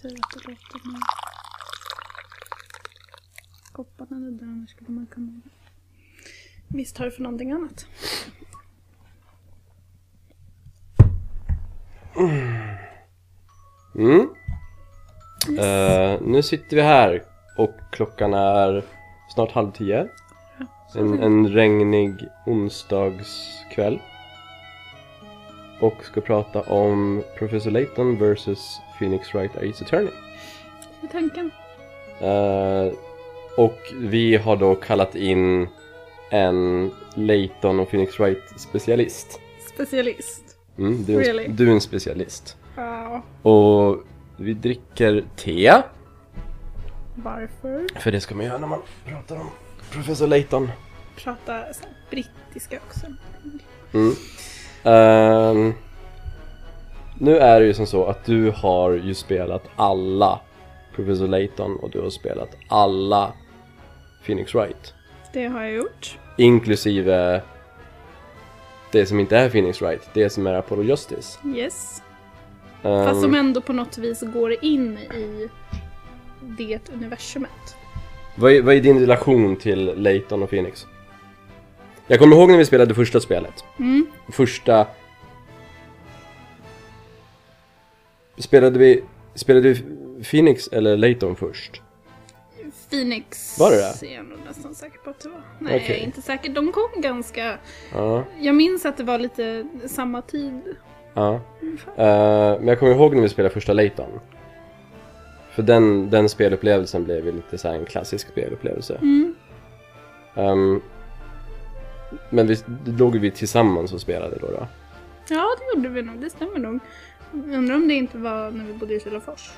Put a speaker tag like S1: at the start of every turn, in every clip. S1: säger att det låter nu. Kopparna är där, annars skulle man kunna missta det för någonting annat.
S2: Mm. Eh, nu sitter vi här och klockan är snart halv tio. En, en regnig onsdagskväll. Och ska prata om Professor Layton vs Phoenix Wright Ace Attorney.
S1: Hur är tanken?
S2: Eh, och vi har då kallat in en Layton och Phoenix Wright specialist.
S1: Specialist.
S2: Mm, du, är en-
S1: Really?
S2: du är en specialist.
S1: Ja,
S2: Och vi dricker te.
S1: varför?
S2: För det ska man göra när man pratar om Professor Layton.
S1: Prata så här brittiska också.
S2: Ehm, nu är det ju som så att du har ju spelat alla Professor Layton och du har spelat alla Phoenix Wright.
S1: Det har jag gjort.
S2: Inklusive det som inte är Phoenix Wright, det som är Apollo Justice.
S1: Yes.
S2: Ehm,
S1: Fast som ändå på något vis går in i det universumet.
S2: vad, är, vad är din relation till Layton och Phoenix? Jag kommer ihåg när vi spelade första spelet.
S1: Mm.
S2: Första... Spelade vi, spelade vi Phoenix eller Layton först?
S1: Phoenix
S2: Var det det?
S1: är jag nog nästan säker på att det var. Nej,
S2: Okej.
S1: inte säker. De kom ganska...
S2: Ja.
S1: Jag minns att det var lite samma tid.
S2: Ja. Eh, men jag kommer ihåg när vi spelade första Layton. För den, den spelupplevelsen blev ju lite så här en klassisk spelupplevelse.
S1: Mm.
S2: Ehm, men vi låg vi tillsammans och spelade då. då.
S1: Ja, det gjorde vi nog. Det stämmer nog. Undrar om det inte var när vi bodde i Kilafors.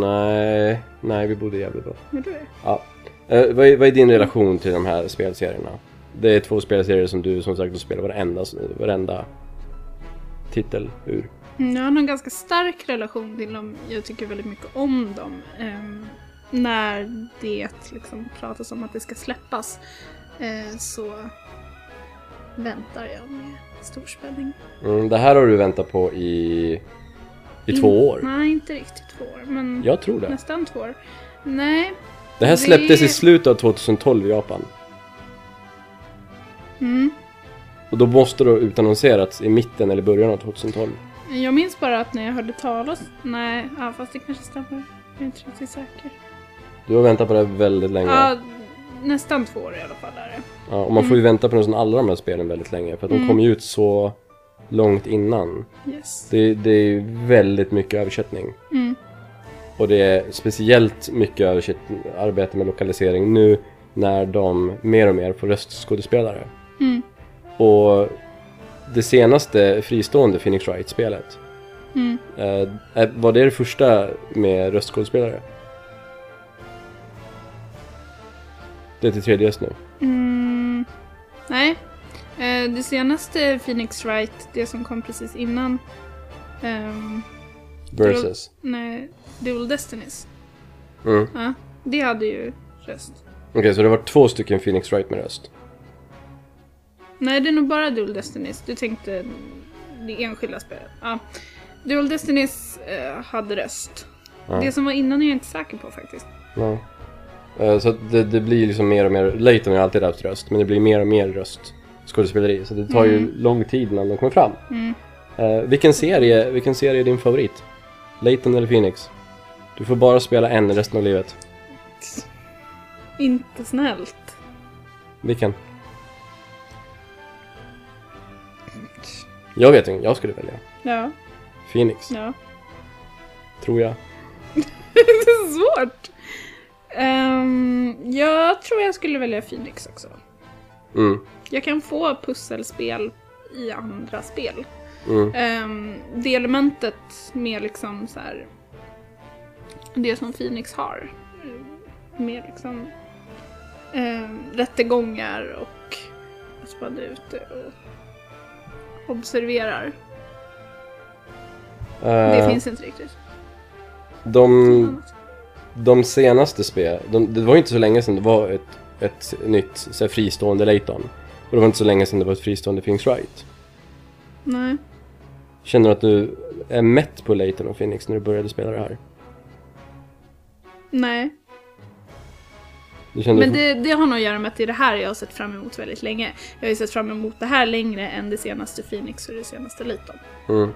S2: Nej, nej vi bodde i Gävle då.
S1: Gjorde vi?
S2: Ja. Eh, vad, är, vad är din relation till de här spelserierna? Det är två spelserier som du som sagt har spelat varenda, varenda titel ur.
S1: Mm, Jag har nog en ganska stark relation till dem. Jag tycker väldigt mycket om dem. Ehm, när det liksom pratas om att det ska släppas eh, så väntar jag med stor spänning.
S2: Mm, det här har du väntat på i, i två år.
S1: Nej, inte riktigt två år, men
S2: Jag tror det.
S1: Mm. nästan två år. Nej,
S2: Det här släpptes
S1: Det-
S2: i slutet av 2012 i Japan.
S1: mm.
S2: Och då måste det ha utannonserats i mitten eller början av 2012.
S1: jag minns bara att när jag hörde talas... Nej, ja, fast det kanske stämmer. Jag är inte riktigt säker.
S2: Du har väntat på det här väldigt länge.
S1: Ja, nästan två år i alla fall är det.
S2: Ja, och man får ju
S1: Mm.
S2: vänta på nästan alla de här spelen väldigt länge. För att de kom ju ut så långt innan.
S1: Yes.
S2: Det, det är ju väldigt mycket översättning.
S1: Mm.
S2: Och det är speciellt mycket översätt- arbete med lokalisering nu när de mer och mer får röstskådespelare.
S1: Mm.
S2: Och det senaste fristående Phoenix Wright-spelet
S1: Mm.
S2: Eh, eh, var det det första med röstskådespelare? Det är till 3DS nu.
S1: Mm, nej. Eh, det senaste Phoenix Wright, det som kom precis innan. ehm,
S2: Versus.
S1: nej, Dual Destinies.
S2: Mm. Okej,
S1: Ja, det hade ju röst.
S2: så det var två stycken Phoenix Wright med röst.
S1: Nej, det är nog bara Dual Destinies. Du tänkte det enskilda spelet. Ja. Dual Destinies eh, hade röst.
S2: Ja.
S1: Det som var innan är jag inte säker på faktiskt.
S2: Ja. Eh, Så att det, det blir liksom mer och mer, Layton har alltid haft röst, men det blir mer och mer röstskådespeleri. Så det tar ju lång tid innan de kommer fram.
S1: Mm.
S2: Eh, vilken, serie, vilken serie är din favorit? Layton eller Phoenix? Du får bara spela en resten av livet.
S1: Inte snällt.
S2: Vilken? Jag vet inte, jag skulle välja.
S1: Ja,
S2: Phoenix,
S1: ja.
S2: tror jag.
S1: Det är svårt. Ehm, jag tror jag skulle välja Phoenix också.
S2: Mm,
S1: Jag kan få pusselspel i andra spel.
S2: mm,
S1: Ehm, det elementet med liksom så här. Det som Phoenix har. eh, Med liksom ehm, rättegångar och att man är ute och observerar.
S2: Eh,
S1: Det finns inte riktigt.
S2: de, de senaste spel, de, det var ju inte så länge sedan det var ett, ett nytt så här, fristående Layton. Och det var inte så länge sedan det var ett fristående Phoenix Wright.
S1: Nej.
S2: Känner du att du är mätt på Layton och Phoenix när du började spela det här?
S1: Nej.
S2: Det kändes...
S1: Men det, det har nog att göra med att det är det här jag har sett fram emot väldigt länge. Jag har ju sett fram emot det här längre än det senaste Phoenix och det senaste Layton.
S2: Mm.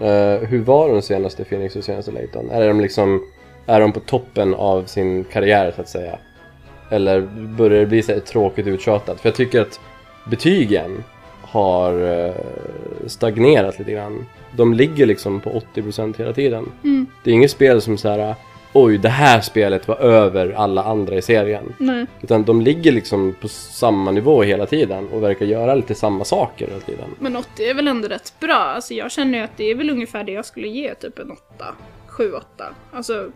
S2: Eh, hur var de senaste Phoenix och senaste Layton? Är de liksom... Är de på toppen av sin karriär så att säga? Eller börjar det bli så här tråkigt uttjatat? För jag tycker att betygen har eh, stagnerat lite grann. De ligger liksom på 80% hela tiden.
S1: Mm.
S2: Det är inget spel som så här... Oj, det här spelet var över alla andra i serien.
S1: Nej.
S2: Utan de ligger liksom på samma nivå hela tiden och verkar göra lite samma saker hela tiden.
S1: Men 80 är väl ändå rätt bra. Alltså jag känner ju att det är väl ungefär det jag skulle ge typ en 8. 7-8. Alltså,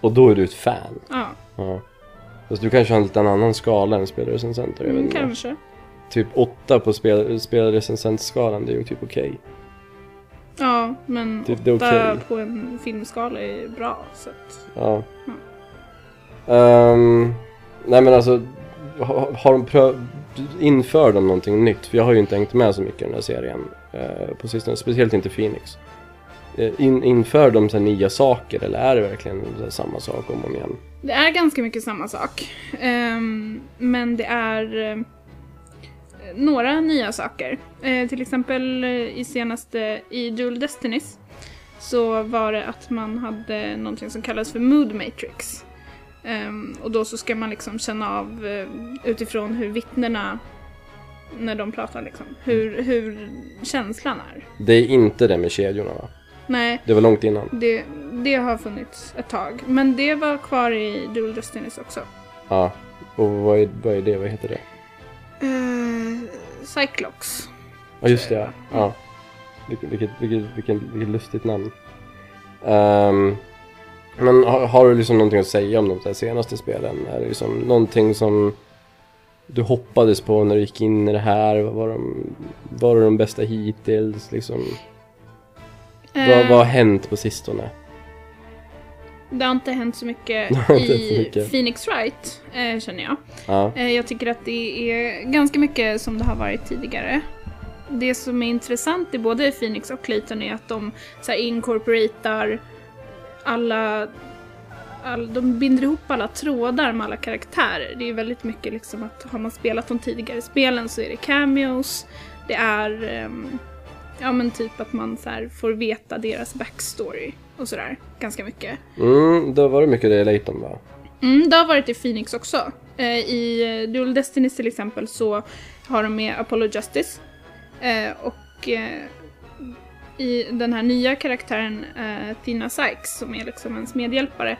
S2: Och då är du ett fan.
S1: ja.
S2: Ja. Fast du kanske har en lite annan skala än spelrecensenter. jag vet
S1: Mm,
S2: inte.
S1: kanske.
S2: Typ 8 på spel, spelrecensentskalan, det är ju typ okej.
S1: Ja, men
S2: Det- det är
S1: 8
S2: okej.
S1: på en filmskala är bra. Så att...
S2: Ja. Ehm, nej men alltså, har, har de pröv, inför de någonting nytt? För jag har ju inte hängt med så mycket i den här serien eh, på sistone, speciellt inte Phoenix. Eh, in, inför de så här, nya saker eller är det verkligen så här, samma sak om och om igen?
S1: Det är ganska mycket samma sak. Ehm, men det är eh, några nya saker. Eh, till exempel eh, i senaste, i Dual Destinies, så var det att man hade någonting som kallas för Mood Matrix. Ehm, och då så ska man liksom känna av eh, utifrån hur vittnena, när de pratar liksom, hur, hur känslan är.
S2: Det är inte det med kedjorna va?
S1: Nej,
S2: Det var långt innan.
S1: det, det har funnits ett tag. Men det var kvar i Dual Destinies också.
S2: Ja. Och vad är, vad är det? Vad heter det?
S1: Eh, Cyclops.
S2: Ja, just det. Ja. ja. Vilket, vilket, vilket, vilket, vilket lustigt namn. Ehm, men har, har du liksom någonting att säga om de här senaste spelen? Är det liksom någonting som du hoppades på när du gick in i det här? Vad Var de, var det de bästa hittills? Liksom, vad,
S1: Eh,
S2: vad har hänt på sistone?
S1: Det har inte hänt så mycket
S2: Det har inte hänt så
S1: i
S2: mycket.
S1: Phoenix Wright, eh, känner jag.
S2: Ja.
S1: Eh, jag tycker att det är ganska mycket som det har varit tidigare. Det som är intressant i både Phoenix och Clayton är att de så här, inkorporerar alla... All, de binder ihop alla trådar med alla karaktärer. Det är väldigt mycket liksom att har man spelat de tidigare spelen så är det cameos, det är... ehm, ja men typ att man så här, får veta deras backstory och sådär. Ganska mycket.
S2: Mm, då var det mycket det i Layton va?
S1: Mm, det har varit i Phoenix också. Eh, I eh, Dual Destinies till exempel så har de med Apollo Justice. Eh, och eh, i den här nya karaktären eh, Tina Sykes som är liksom ens medhjälpare.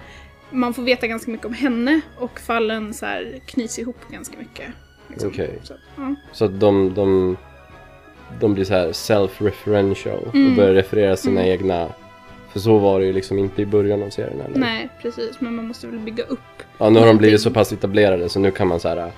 S1: Man får veta ganska mycket om henne och fallen så här knyts ihop ganska mycket. liksom.
S2: Okej.
S1: Så, ja.
S2: Så att de, de, de blir så här self-referential och börjar referera sina egna. För så var det ju liksom inte i början av serien eller?
S1: Nej, precis. Men man måste väl bygga upp.
S2: Ja, nu har de
S1: Någonting.
S2: blivit så pass etablerade så nu kan man så här äh,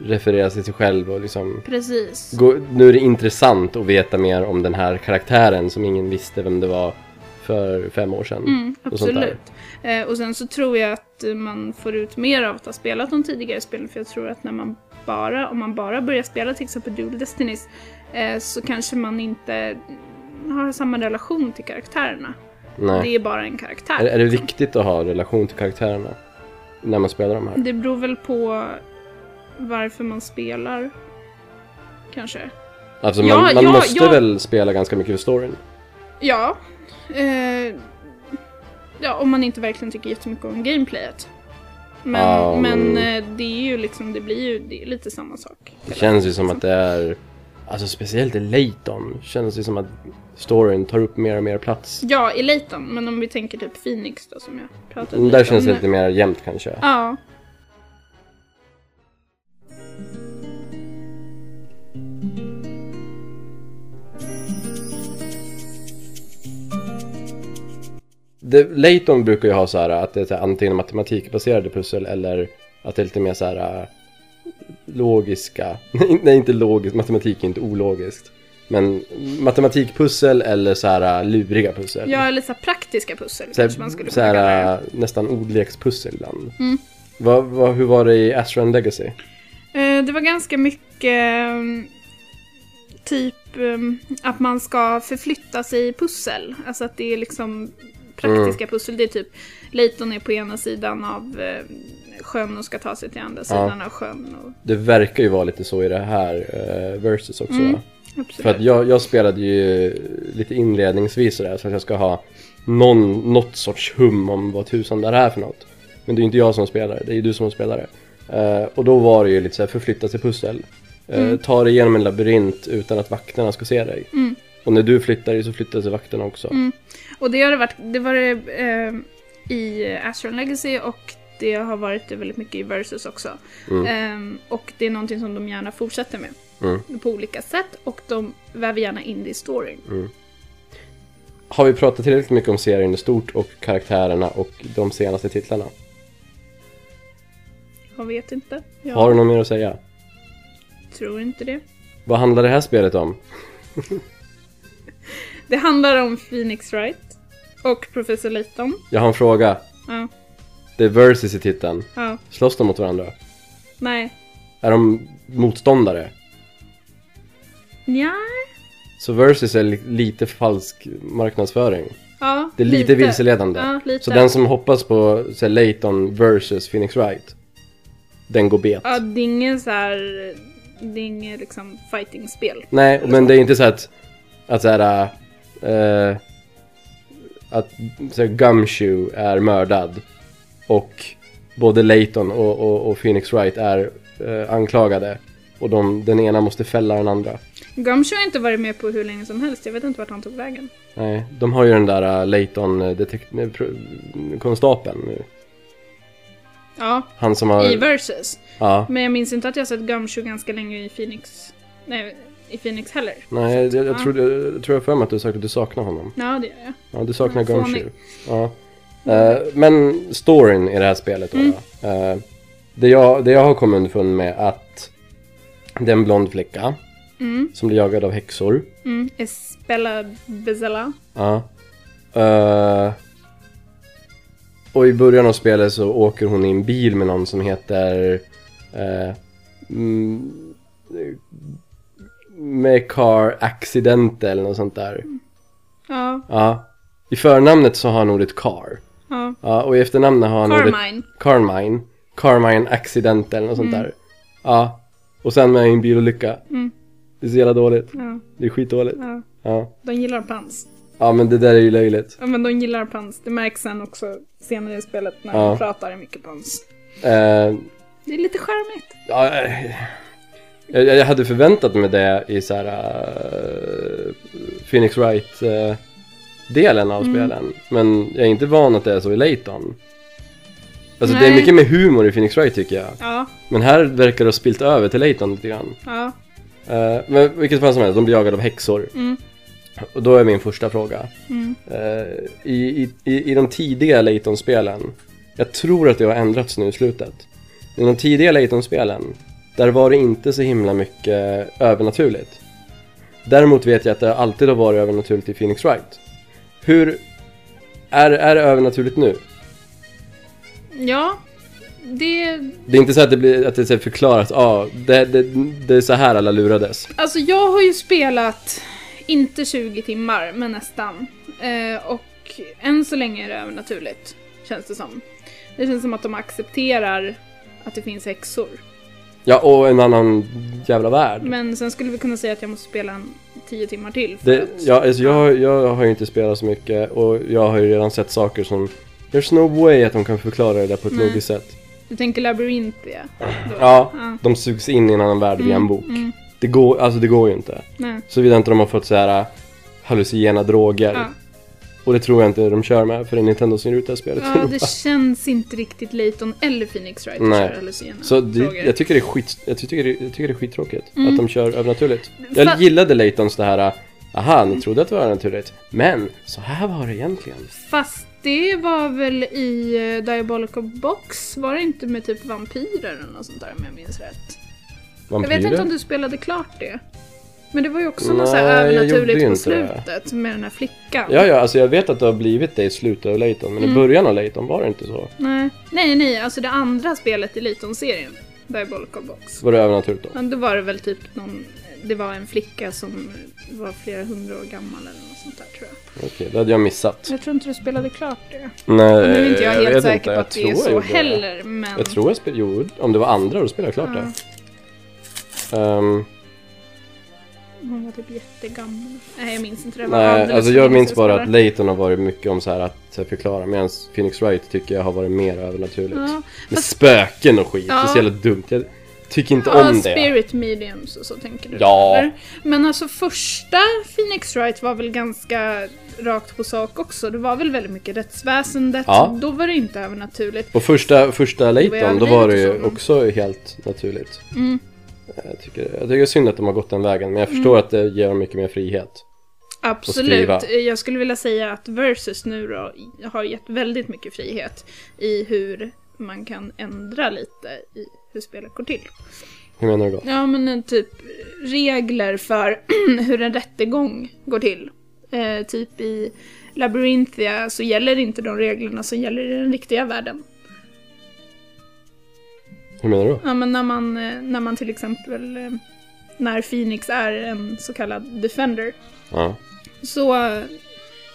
S2: referera sig till själv och liksom
S1: Precis.
S2: gå, nu är det intressant att veta mer om den här karaktären som ingen visste vem det var för fem år sedan.
S1: Mm,
S2: och sånt där.
S1: absolut. Eh, och sen så tror jag att eh, man får ut mer av att ha spelat de tidigare spelen för jag tror att när man bara, om man bara börjar spela till exempel Dual Destinies eh, så kanske man inte har samma relation till karaktärerna.
S2: Nej.
S1: Det är bara en karaktär.
S2: Är, är det
S1: liksom.
S2: viktigt att ha relation till karaktärerna när man spelar de här?
S1: Det beror väl på varför man spelar, kanske.
S2: Alltså
S1: Ja,
S2: man, man
S1: ja,
S2: måste
S1: ja.
S2: väl spela ganska mycket för storyn?
S1: Ja. Eh, ja, om man inte verkligen tycker jättemycket om gameplayet. Men,
S2: Ja,
S1: men eh,
S2: mm.
S1: det är ju liksom, det blir ju det är lite samma sak.
S2: Det känns ju som att det är, alltså speciellt i Layton, känns det som att storyn tar upp mer och mer plats.
S1: Ja, i Layton, men om vi tänker typ Phoenix då som jag pratade
S2: Där känns det
S1: om.
S2: lite mer jämnt kanske.
S1: Ja.
S2: Det, Layton brukar ju ha så här att det är så här, antingen matematikbaserade pussel eller att det är lite mer så här äh, logiska. Nej, nej, inte logiskt. Matematik är inte ologiskt. Men matematikpussel eller så här äh, luriga pussel.
S1: ja, eller så här praktiska pussel
S2: så
S1: kanske man skulle Mm.
S2: här, så
S1: kunna kalla det.
S2: här, äh, nästan ordlekspussel ibland. Vad- vad- hur var det i Astro and Legacy?
S1: Eh, Det var ganska mycket mm, typ mm, att man ska förflytta sig i pussel. Alltså att det är liksom praktiska pussel. Det är typ Leighton är på ena sidan av eh, sjön och ska ta sig till andra sidan av sjön. Och,
S2: Det verkar ju vara lite så i det här eh, Versus också.
S1: Mm,
S2: va?
S1: absolut.
S2: För att jag, jag spelade ju lite inledningsvis sådär så att jag ska ha någon, något sorts hum om vad tusan det här är för något. Men det är ju inte jag som spelar, det är ju du som spelar det. Eh, och då var det ju lite såhär förflytta sig pussel. Eh, Ta dig igenom en labyrint utan att vakterna ska se dig. Och när du flyttar dig så flyttar sig vakterna också.
S1: Och det har det varit, det var det eh, i Astron Legacy och det har varit det väldigt mycket i Versus också.
S2: Mm.
S1: Eh, och det är någonting som de gärna fortsätter med.
S2: Mm.
S1: På olika sätt och de väver gärna in det i storyn.
S2: Har vi pratat tillräckligt mycket om serien i stort och karaktärerna och de senaste titlarna?
S1: Jag vet inte. Jag
S2: Har du något mer att säga?
S1: tror inte det.
S2: Vad handlar det här spelet om?
S1: Det handlar om Phoenix Wright och Professor Layton.
S2: Jag har en fråga.
S1: Ja,
S2: Det är Versus i titeln.
S1: ja,
S2: Slåss de mot varandra?
S1: nej.
S2: Är de motståndare?
S1: Nja.
S2: Så Versus är li- lite falsk marknadsföring.
S1: Ja,
S2: Det är lite, vilseledande.
S1: Ja, lite.
S2: Så den som hoppas på så här, Layton versus Phoenix Wright, den går bet.
S1: Ja, det är ingen så här... Det är inget liksom fighting-spel.
S2: Nej, men det är inte så att, att så här, eh, att så här, Gumshoe är mördad och både Layton och, och, och Phoenix Wright är eh, anklagade och de, den ena måste fälla den andra.
S1: Gumshoe har inte varit med på hur länge som helst. Jag vet inte vart han tog vägen.
S2: Nej, de har ju den där uh, Layton eh, detekt- nej, pro- konstapeln nu.
S1: Ja,
S2: Han som har...
S1: i Versus.
S2: Ja.
S1: Men jag minns inte att jag sett Gumshoe ganska länge i Phoenix. Nej, i Phoenix heller.
S2: Nej, jag, jag,
S1: Ja.
S2: tror, jag, jag tror jag har för mig att du sagt att du saknar honom.
S1: Ja, det gör jag.
S2: Ja, du saknar
S1: Ja, fånig.
S2: Gumshoe. Ja. Eh, men storyn i det här spelet
S1: Mm.
S2: då. då. Eh, det, jag, det jag har kommit underfund med är att det är en blond flicka
S1: Mm.
S2: som blir jagad av häxor.
S1: Mm. Espella Bezella.
S2: Ja. Eh, och i början av spelet så åker hon i en bil med någon som heter... Uh, mm, med car accident eller något sånt där.
S1: Ja,
S2: Ja. I förnamnet så har han ordet car.
S1: ja.
S2: Ja, och i efternamnet har han ordet
S1: Carmine.
S2: Carmine. Carmine accident eller något sånt där. Ja. Och sen med en bilolycka.
S1: Mm.
S2: Det är så jävla dåligt.
S1: Ja,
S2: Det är skitdåligt.
S1: ja.
S2: Ja.
S1: De gillar pans.
S2: Ja men det där är ju löjligt.
S1: Ja men de gillar pans. Det märks sen också senare i spelet när
S2: Ja.
S1: de pratar mycket pans.
S2: Eh,
S1: Det är lite charmigt.
S2: Ja, eh, jag, jag hade förväntat mig det i så här eh, Phoenix Wright eh, delen av spelen. Men jag är inte van att det är så i Layton. Alltså det är
S1: Nej.
S2: mycket mer humor i Phoenix Wright tycker jag.
S1: Ja,
S2: Men här verkar det ha spilt över till Layton lite grann.
S1: ja.
S2: Eh, men vilket fall som helst, de blir jagade av häxor.
S1: Mm.
S2: Och då är min första fråga.
S1: Mm.
S2: Eh, i, i- i, I de tidiga Layton-spelen, jag tror att det har ändrats nu i slutet. Men i de tidiga Layton-spelen, där var det inte så himla mycket övernaturligt. Däremot vet jag att det alltid har varit övernaturligt i Phoenix Wright. Hur... Är, är det övernaturligt nu?
S1: Ja, det...
S2: Det är inte så att det blir att det är så här förklarat, ja, ah, det, det, det är så här alla lurades.
S1: Alltså jag har ju spelat, inte 20 timmar, men nästan. Eh, och än så länge är det övernaturligt, känns det som. Det känns som att de accepterar att det finns häxor.
S2: Ja, och en annan jävla värld.
S1: Men sen skulle vi kunna säga att jag måste spela en 10 timmar till. För
S2: Det,
S1: att,
S2: ja, alltså jag, jag har ju inte spelat så mycket och jag har ju redan sett saker som There's no way att de kan förklara det där på ett
S1: Nej.
S2: logiskt sätt.
S1: Du tänker labyrint det? då?
S2: Ja,
S1: Ja.
S2: de sugs in i en annan värld via en bok.
S1: Mm,
S2: Det, går, alltså det går ju inte.
S1: nej.
S2: Såvida inte de har fått så här äh, hallucinogena droger.
S1: Ja.
S2: Och det tror jag inte de kör med för Nintendo ser ut det här spelet.
S1: ja, det känns inte riktigt Layton eller Phoenix Wright att
S2: Nej.
S1: köra Lucina.
S2: Så det,
S1: frågor.
S2: jag, tycker det är skit, jag, tycker det, jag tycker det är skittråkigt
S1: Mm.
S2: att de kör övernaturligt.
S1: Fa-
S2: Jag gillade Laytons det här, äh, aha, ni trodde att det var övernaturligt, men så här var det egentligen.
S1: Fast det var väl i eh, Diabolical Box? Var det inte med typ vampyrer eller något sånt där om jag minns rätt? Jag vet inte om du spelade klart det. Men det var ju också något så här
S2: Nej, jag gjorde
S1: övernaturligt
S2: ju
S1: på
S2: inte det.
S1: slutet med den här flickan.
S2: Ja, ja, alltså jag vet att det har blivit det i slutet av Layton,
S1: Mm.
S2: men i början av Layton var det inte så.
S1: Nej. nej, nej, alltså det andra spelet i Liton-serien, Diabolical Box.
S2: Var det övernaturligt då?
S1: Men då var det väl typ någon eh, det var en flicka som var flera hundra år gammal eller något sånt där tror jag.
S2: Okej, det hade jag missat.
S3: Jag tror inte du spelade klart det.
S2: Nej,
S1: Nu är inte jag helt
S2: vet
S1: säker
S2: inte.
S1: på
S2: Eh,
S1: att det
S2: Jag
S1: är
S2: tror
S1: så
S2: jag gjorde det.
S1: heller men...
S2: Jag tror jag spelade, jo, om det var andra då spelade jag klart det. Ehm,
S1: Hon var typ jättegammal. Nej jag minns inte det. det. var
S2: nej,
S1: alldeles
S2: alltså
S1: för
S2: jag
S1: länge
S2: minns
S1: sedan
S2: bara
S1: jag
S2: att Layton har varit mycket om så här att förklara medan Phoenix Wright tycker jag har varit mer övernaturligt.
S1: spelade. Ja,
S2: Med spöken och skit, det är så
S1: Ja.
S2: jävla dumt. Jag tycker inte
S1: ja
S2: om det.
S1: spirit mediums och så tänker du.
S2: Ja.
S1: eller? Men alltså första Phoenix Wright var väl ganska rakt på sak också. Det var väl väldigt mycket rättsväsendet.
S2: Ja.
S1: Då var det inte övernaturligt.
S2: Och första, första Layton, då
S1: överdrivet
S2: var det ju
S1: som-
S2: också helt naturligt.
S1: Mm.
S2: Jag tycker, jag tycker det är synd att de har gått den vägen, men jag förstår att det ger dem mycket mer frihet.
S1: Absolut.
S2: skriva.
S1: Jag skulle vilja säga att Versus nu då har gett väldigt mycket frihet i hur man kan ändra lite i hur spelet går till.
S2: Hur menar du då?
S1: Ja men eh, typ regler för hur en rättegång går till. Eh, typ i Labyrinthia så gäller inte de reglerna som gäller i den riktiga världen.
S2: Hur menar du då?
S1: Ja men när man, eh, när man till exempel, eh, när Phoenix är en så kallad defender
S2: Ja.
S1: så eh,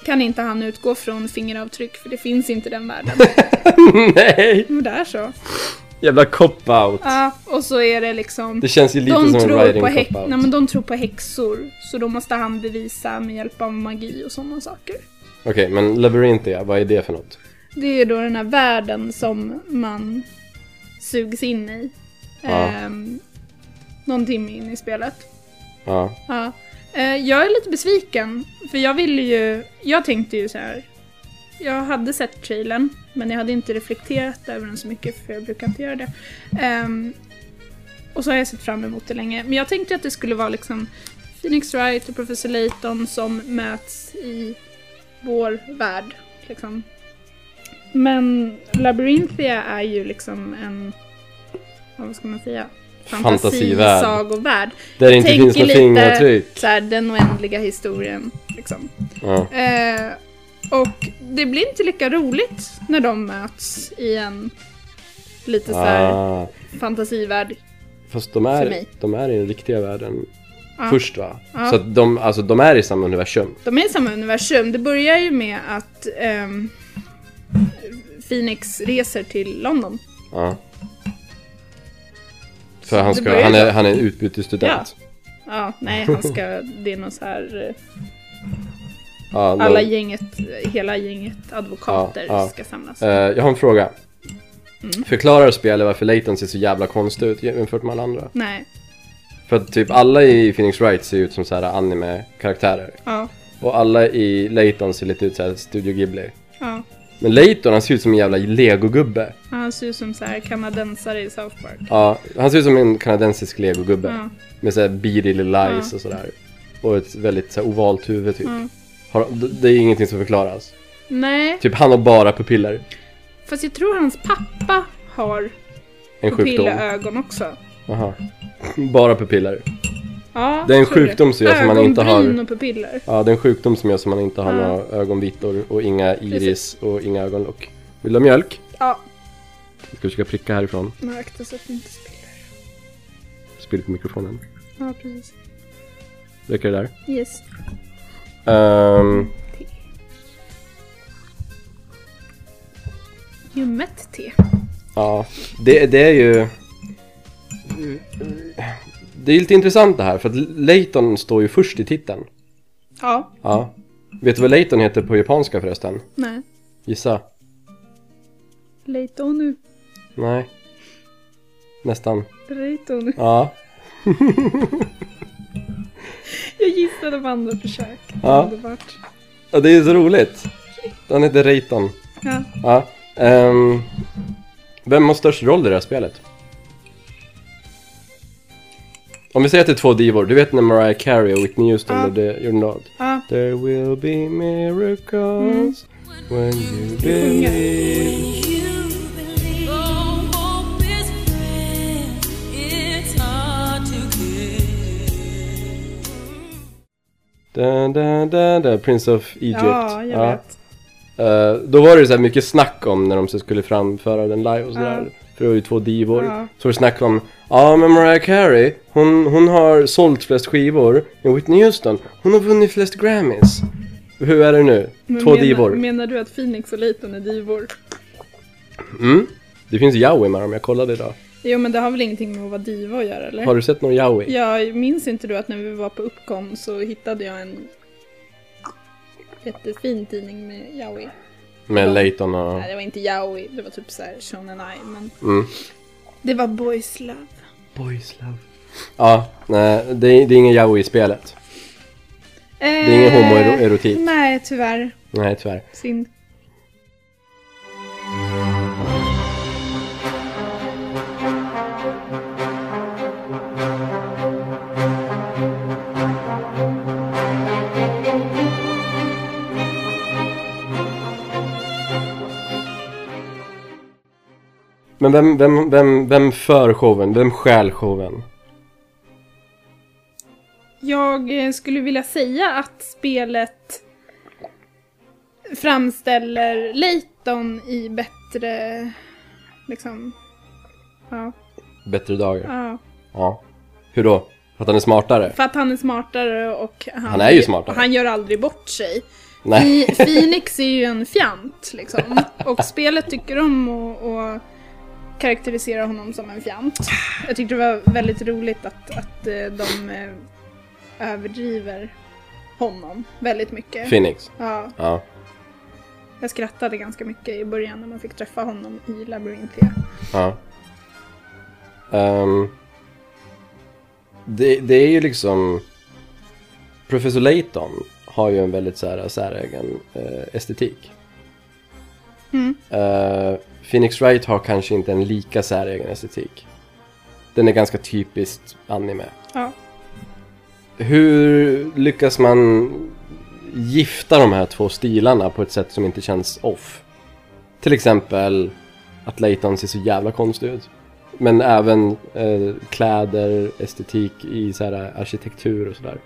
S1: kan inte han utgå från fingeravtryck för det finns inte i den världen.
S2: Nej!
S1: Men det är så.
S2: Jävla cop-out!
S1: Ja, och så är det liksom...
S2: Det känns ju lite
S1: de,
S2: som en
S1: tror
S2: riding
S1: på häx-
S2: cop-out.
S1: Nej, men de tror på häxor, så då måste han bevisa med hjälp av magi och sådana saker.
S2: Okej, men Labyrinthia, vad är det för något?
S1: Det är då den här världen som man sugs in i.
S2: Ja.
S1: Ehm, någon timme in i spelet.
S2: Ja.
S1: Ja. Eh, jag är lite besviken, för jag ville ju... Jag tänkte ju så här. Jag hade sett trailern, men jag hade inte reflekterat över den så mycket, för jag brukar inte göra det. Ehm, och så har jag sett fram emot det länge. Men jag tänkte att det skulle vara liksom Phoenix Wright och Professor Layton som möts i vår värld. Liksom. Men Labyrinthia är ju liksom en... Vad ska man säga?
S2: Fantasivärld.
S1: Fantasisagovärd
S2: Där det inte
S1: tänker
S2: finns något
S1: lite-
S2: fingeravtryck.
S1: så här, den oändliga historien. Liksom.
S2: Ja.
S1: Eh, och det blir inte lika roligt när de möts i en lite så här
S2: Ah.
S1: fantasivärld.
S2: Fast de
S1: För
S2: är,
S1: mig.
S2: de är i den riktiga världen
S1: Ja.
S2: först va?
S1: Ja.
S2: Så att de, alltså, de är i samma universum.
S1: De är i samma universum. Det börjar ju med att ehm, Phoenix reser till London.
S2: Ja. För han,
S1: det
S2: ska,
S1: börjar
S2: han, är,
S1: där.
S2: han är en utbytesstudent. Ja.
S1: Ja, nej, han ska... Det är någon så här... eh,
S2: någon-
S1: Alla gänget, hela gänget advokater
S2: Ja, ja.
S1: ska samlas.
S2: Eh, jag har en fråga.
S1: Mm.
S2: Förklarar spelet varför Layton ser så jävla konstig ut jämfört med alla andra?
S1: Nej,
S2: För att typ alla i Phoenix Wright ser ut som så här anime-karaktärer.
S1: ja,
S2: Och alla i Layton ser lite ut så här Studio Ghibli.
S1: ja.
S2: Men Layton han ser ut som en jävla legogubbe.
S1: Han ser ut som så här kanadensare i South Park.
S2: Ja, han ser ut som en kanadensisk legogubbe.
S1: Ja.
S2: Med såhär beady little eyes
S1: Ja.
S2: och sådär. Och ett väldigt så här, ovalt huvud typ.
S1: Mm.
S2: Har, d- det är ingenting som förklaras.
S1: Nej,
S2: Typ han har bara pupiller.
S1: Fast jag tror hans pappa har
S2: En sjukdom.
S1: pupillögon också.
S2: Aha. Bara pupiller.
S1: Ja,
S2: Det är en
S1: tror
S2: sjukdom som gör att man inte har-
S1: Ögonbryn och pupiller.
S2: Ja, det är en sjukdom som gör så man inte har
S1: Ja.
S2: några ögonvitor och inga iris
S1: Precis.
S2: och inga ögonlock. Vill du ha mjölk?
S1: Ja,
S2: Jag ska försöka pricka härifrån.
S1: men akta så att det inte spiller.
S2: Spill på mikrofonen.
S1: Ja, precis.
S2: Räcker det där?
S1: Yes.
S2: Ehm,
S1: Ljummet te.
S2: ja, det, det är ju... Det är lite intressant det här, för att Layton står ju först i titeln.
S1: Ja,
S2: Ja. Vet du vad Layton heter på japanska förresten?
S1: nej.
S2: Gissa.
S1: Leitonu.
S2: Nej. Nästan.
S1: Leitonu.
S2: Ja.
S1: Jag gissade på andra försök.
S2: Ja.
S1: Underbart.
S2: ja det är så roligt. Han heter Reiton.
S1: Ja.
S2: Ja. ehm, vem har störst roll i det här spelet? Om vi säger att det är två divor, du vet när Mariah Carey och Whitney Houston
S1: Ja.
S2: gjorde You're Not?
S1: ja.
S2: There will be miracles
S1: Mm.
S2: when you
S1: Sjunga.
S2: believe da, da, da, da, Prince of Egypt.
S1: Ja, jag
S2: Ja.
S1: vet.
S2: Eh, då var det så här mycket snack om när de så skulle framföra den live och sådär.
S1: Ja.
S2: För För det var ju två divor.
S1: Ja.
S2: Så var det snack om, ja men Mariah Carey, hon, hon har sålt flest skivor. Men Whitney Houston, hon har vunnit flest Grammys. Hur är det nu?
S1: Men
S2: två
S1: menar,
S2: divor.
S1: Menar du att Phoenix och Layton är divor?
S2: Mm. Det finns Yowie med dem, jag kollade idag.
S1: Jo men det har väl ingenting med att vara diva att göra eller?
S2: Har du sett någon Yowie?
S1: Jag minns inte du att när vi var på Uppcom så hittade jag en jättefin tidning med Yaoi.
S2: Med Layton och...
S1: Nej, det var inte Yaoi, det var typ såhär Shonen Ai, men
S2: Mm.
S1: det var Boys Love.
S2: Boys love. Ja, nej, det är, det är ingen Yowie i spelet.
S1: Det
S2: är ingen homoerotik.
S1: Eh, Nej, tyvärr.
S2: Nej, tyvärr.
S1: Synd.
S2: Men vem, vem, vem, vem för showen? Vem stjäl showen?
S1: Jag eh, skulle vilja säga att spelet framställer Layton i bättre, liksom, ja,
S2: Bättre dagar.
S1: ja.
S2: Ja. Hur då? För att han är smartare?
S1: För att han är smartare och han,
S2: Han är ju smartare.
S1: och Han gör aldrig bort sig.
S2: Nej.
S1: I, Phoenix är ju en fjant liksom. Och spelet tycker om att att karaktärisera honom som en fjant. Jag tyckte det var väldigt roligt att, att eh, de eh, överdriver honom väldigt mycket.
S2: Phoenix?
S1: Ja,
S2: Ja.
S1: jag skrattade ganska mycket i början när man fick träffa honom i Labyrinthia.
S2: Ja. Ehm, det, det är ju liksom... Professor Layton har ju en väldigt så här, säregen eh, estetik.
S1: Mm.
S2: Eh, Phoenix Wright har kanske inte en lika säregen estetik. Den är ganska typiskt anime.
S1: Ja.
S2: Hur lyckas man gifta de här två stilarna på ett sätt som inte känns off? Till exempel att Layton ser så jävla konstig ut. Men även eh, kläder, estetik i så här, eh, arkitektur och sådär.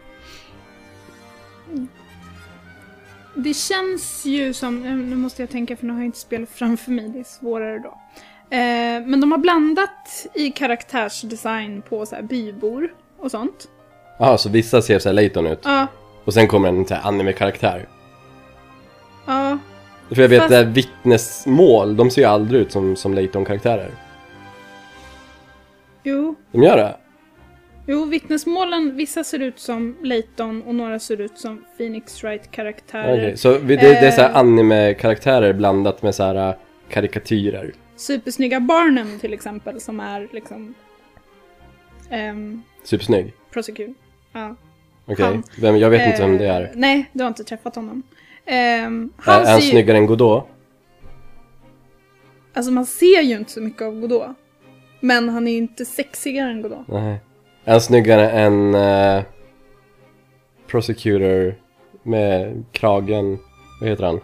S1: Det känns ju som, eh, nu måste jag tänka för nu har jag inte spelat framför mig, det är svårare då. Eh, men de har blandat i karaktärsdesign på så här bybor och sånt.
S2: Jaha, så vissa ser så här Layton ut
S1: Ja,
S2: och sen kommer en så här anime-karaktär.
S1: ja,
S2: För jag vet,
S1: Fast-
S2: det här vittnesmål, de ser ju aldrig ut som, som Layton-karaktärer.
S1: jo.
S2: De gör det?
S1: Jo, vittnesmålen, vissa ser ut som Layton och några ser ut som Phoenix Wright-karaktärer.
S2: Okej, så vi, det, det är så här
S1: Eh.
S2: anime-karaktärer blandat med så här eh, karikatyrer.
S1: Supersnygga Barnum till exempel som är liksom... ehm,
S2: Supersnygg.
S1: prosecutor. Ja.
S2: Okej,
S1: Han.
S2: vem, jag vet inte vem det
S1: Eh,
S2: är.
S1: Nej, du har inte träffat honom. Ehm, han
S2: Är han
S1: ser ju,
S2: snyggare än Godot?
S1: alltså man ser ju inte så mycket av Godot. Men han är ju inte sexigare än Godot.
S2: Nej. Är han snyggare än eh, Prosecutor med kragen, vad heter han?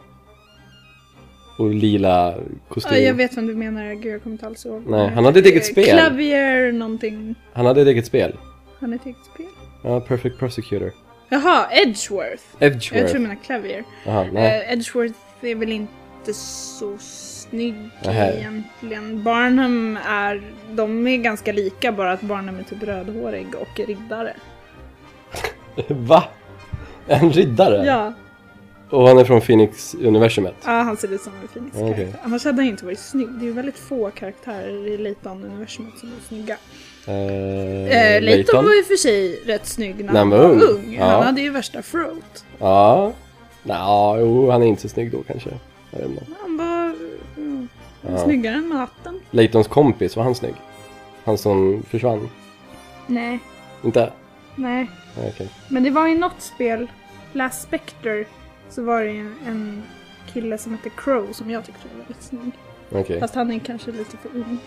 S2: Och lila
S1: Ja, jag
S2: kostym.
S1: vet vem du menar, gud jag kommer inte alls ihåg.
S2: Nej, han hade ett eget
S1: Eh,
S2: spel.
S1: Clavier någonting.
S2: han hade ett eget spel.
S1: Han är ett eget spel.
S2: Ja, Perfect Prosecutor.
S1: Jaha, Edgeworth. Jag tror
S2: Edgeworth.
S1: du menar Clavier.
S2: Jaha, nej.
S1: Eh, Edgeworth är väl inte så snygg
S2: Nähä.
S1: egentligen. Barnum är, de är ganska lika bara att Barnum är typ rödhårig och riddare.
S2: Va? En riddare?
S1: Ja.
S2: Och han är från Phoenix-universumet?
S1: Ja, han ser ut som en phoenix
S2: Okej.
S1: karaktär. Annars hade han inte varit snygg. Det är ju väldigt få karaktärer i Layton-universumet som är snygga.
S2: Eh,
S1: Eh, Layton
S2: Layton?
S1: var ju för sig rätt snygg när
S2: När
S1: han var ung.
S2: Ja.
S1: Han hade ju värsta throat.
S2: Ja. Nja, jo, han är inte så snygg då kanske. Jag vet inte.
S1: Han var mm,
S2: Ja.
S1: snyggare än natten.
S2: Laytons kompis, var han snygg? Han som försvann?
S1: Nej,
S2: Inte?
S1: nej.
S2: Nej, okej.
S1: Men det var i något spel, Last Spectre, så var det ju en, en kille som hette Crow som jag tyckte var väldigt snygg.
S2: Okej.
S1: Fast han är kanske lite för ung.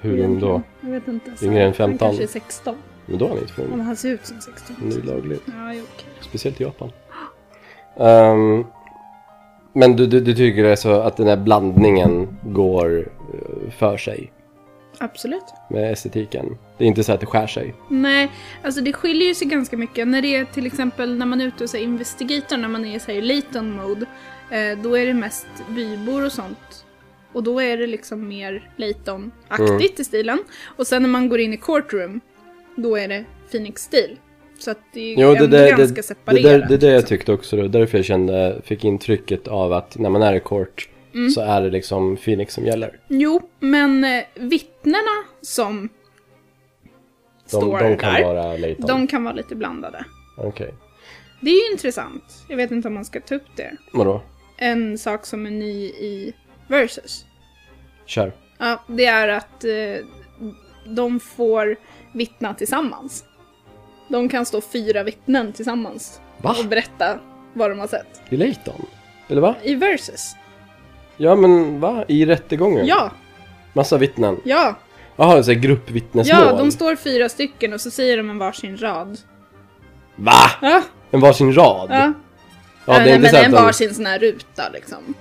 S2: Hur ung då?
S1: egentligen. Jag vet inte.
S2: Yngre än
S1: Han
S2: 15?
S1: kanske är 16.
S2: Men då är han inte för
S1: Om
S2: ung.
S1: han ser ut som 16.
S2: Det är lagligt.
S1: Ja, jo, okej.
S2: Speciellt i Japan. Ehm, men du, du, du tycker alltså att den här blandningen går eh, för sig
S1: Absolut.
S2: med estetiken? Det är inte så att det skär sig?
S1: Nej, alltså det skiljer ju sig ganska mycket. När det är till exempel när man är ute och så här, investigator, när man är i så här, i Layton mode, eh, då är det mest bybor och sånt. Och då är det liksom mer Layton-aktigt
S2: Mm.
S1: i stilen. Och sen när man går in i courtroom, då är det Phoenix-stil. Så att det är
S2: Jo, det,
S1: ändå
S2: där, det,
S1: ganska
S2: det,
S1: separerat.
S2: där, det där jag
S1: liksom.
S2: tyckte också. Då, därför jag kände, fick intrycket av att när man är i court
S1: Mm.
S2: så är det liksom Phoenix som gäller.
S1: Jo, men eh, vittnena som
S2: De,
S1: står
S2: de kan
S1: där,
S2: vara Layton.
S1: de kan vara lite blandade.
S2: Okej.
S1: Det är ju intressant. Jag vet inte om man ska ta upp det.
S2: Vadå?
S1: En sak som är ny i Versus.
S2: Kör.
S1: Ja, det är att eh, de får vittna tillsammans. De kan stå fyra vittnen tillsammans
S2: Va?
S1: och berätta vad de har sett.
S2: I Layton? Eller va?
S1: I Versus.
S2: Ja men va? I rättegången?
S1: Ja,
S2: Massa vittnen?
S1: ja,
S2: Jaha, så här gruppvittnesmål?
S1: ja, de står fyra stycken och så säger de en varsin rad.
S2: Va?
S1: Ja,
S2: En varsin rad?
S1: ja.
S2: Ja,
S1: Nej, men
S2: så
S1: det är
S2: att
S1: en
S2: de-
S1: varsin sån här ruta liksom.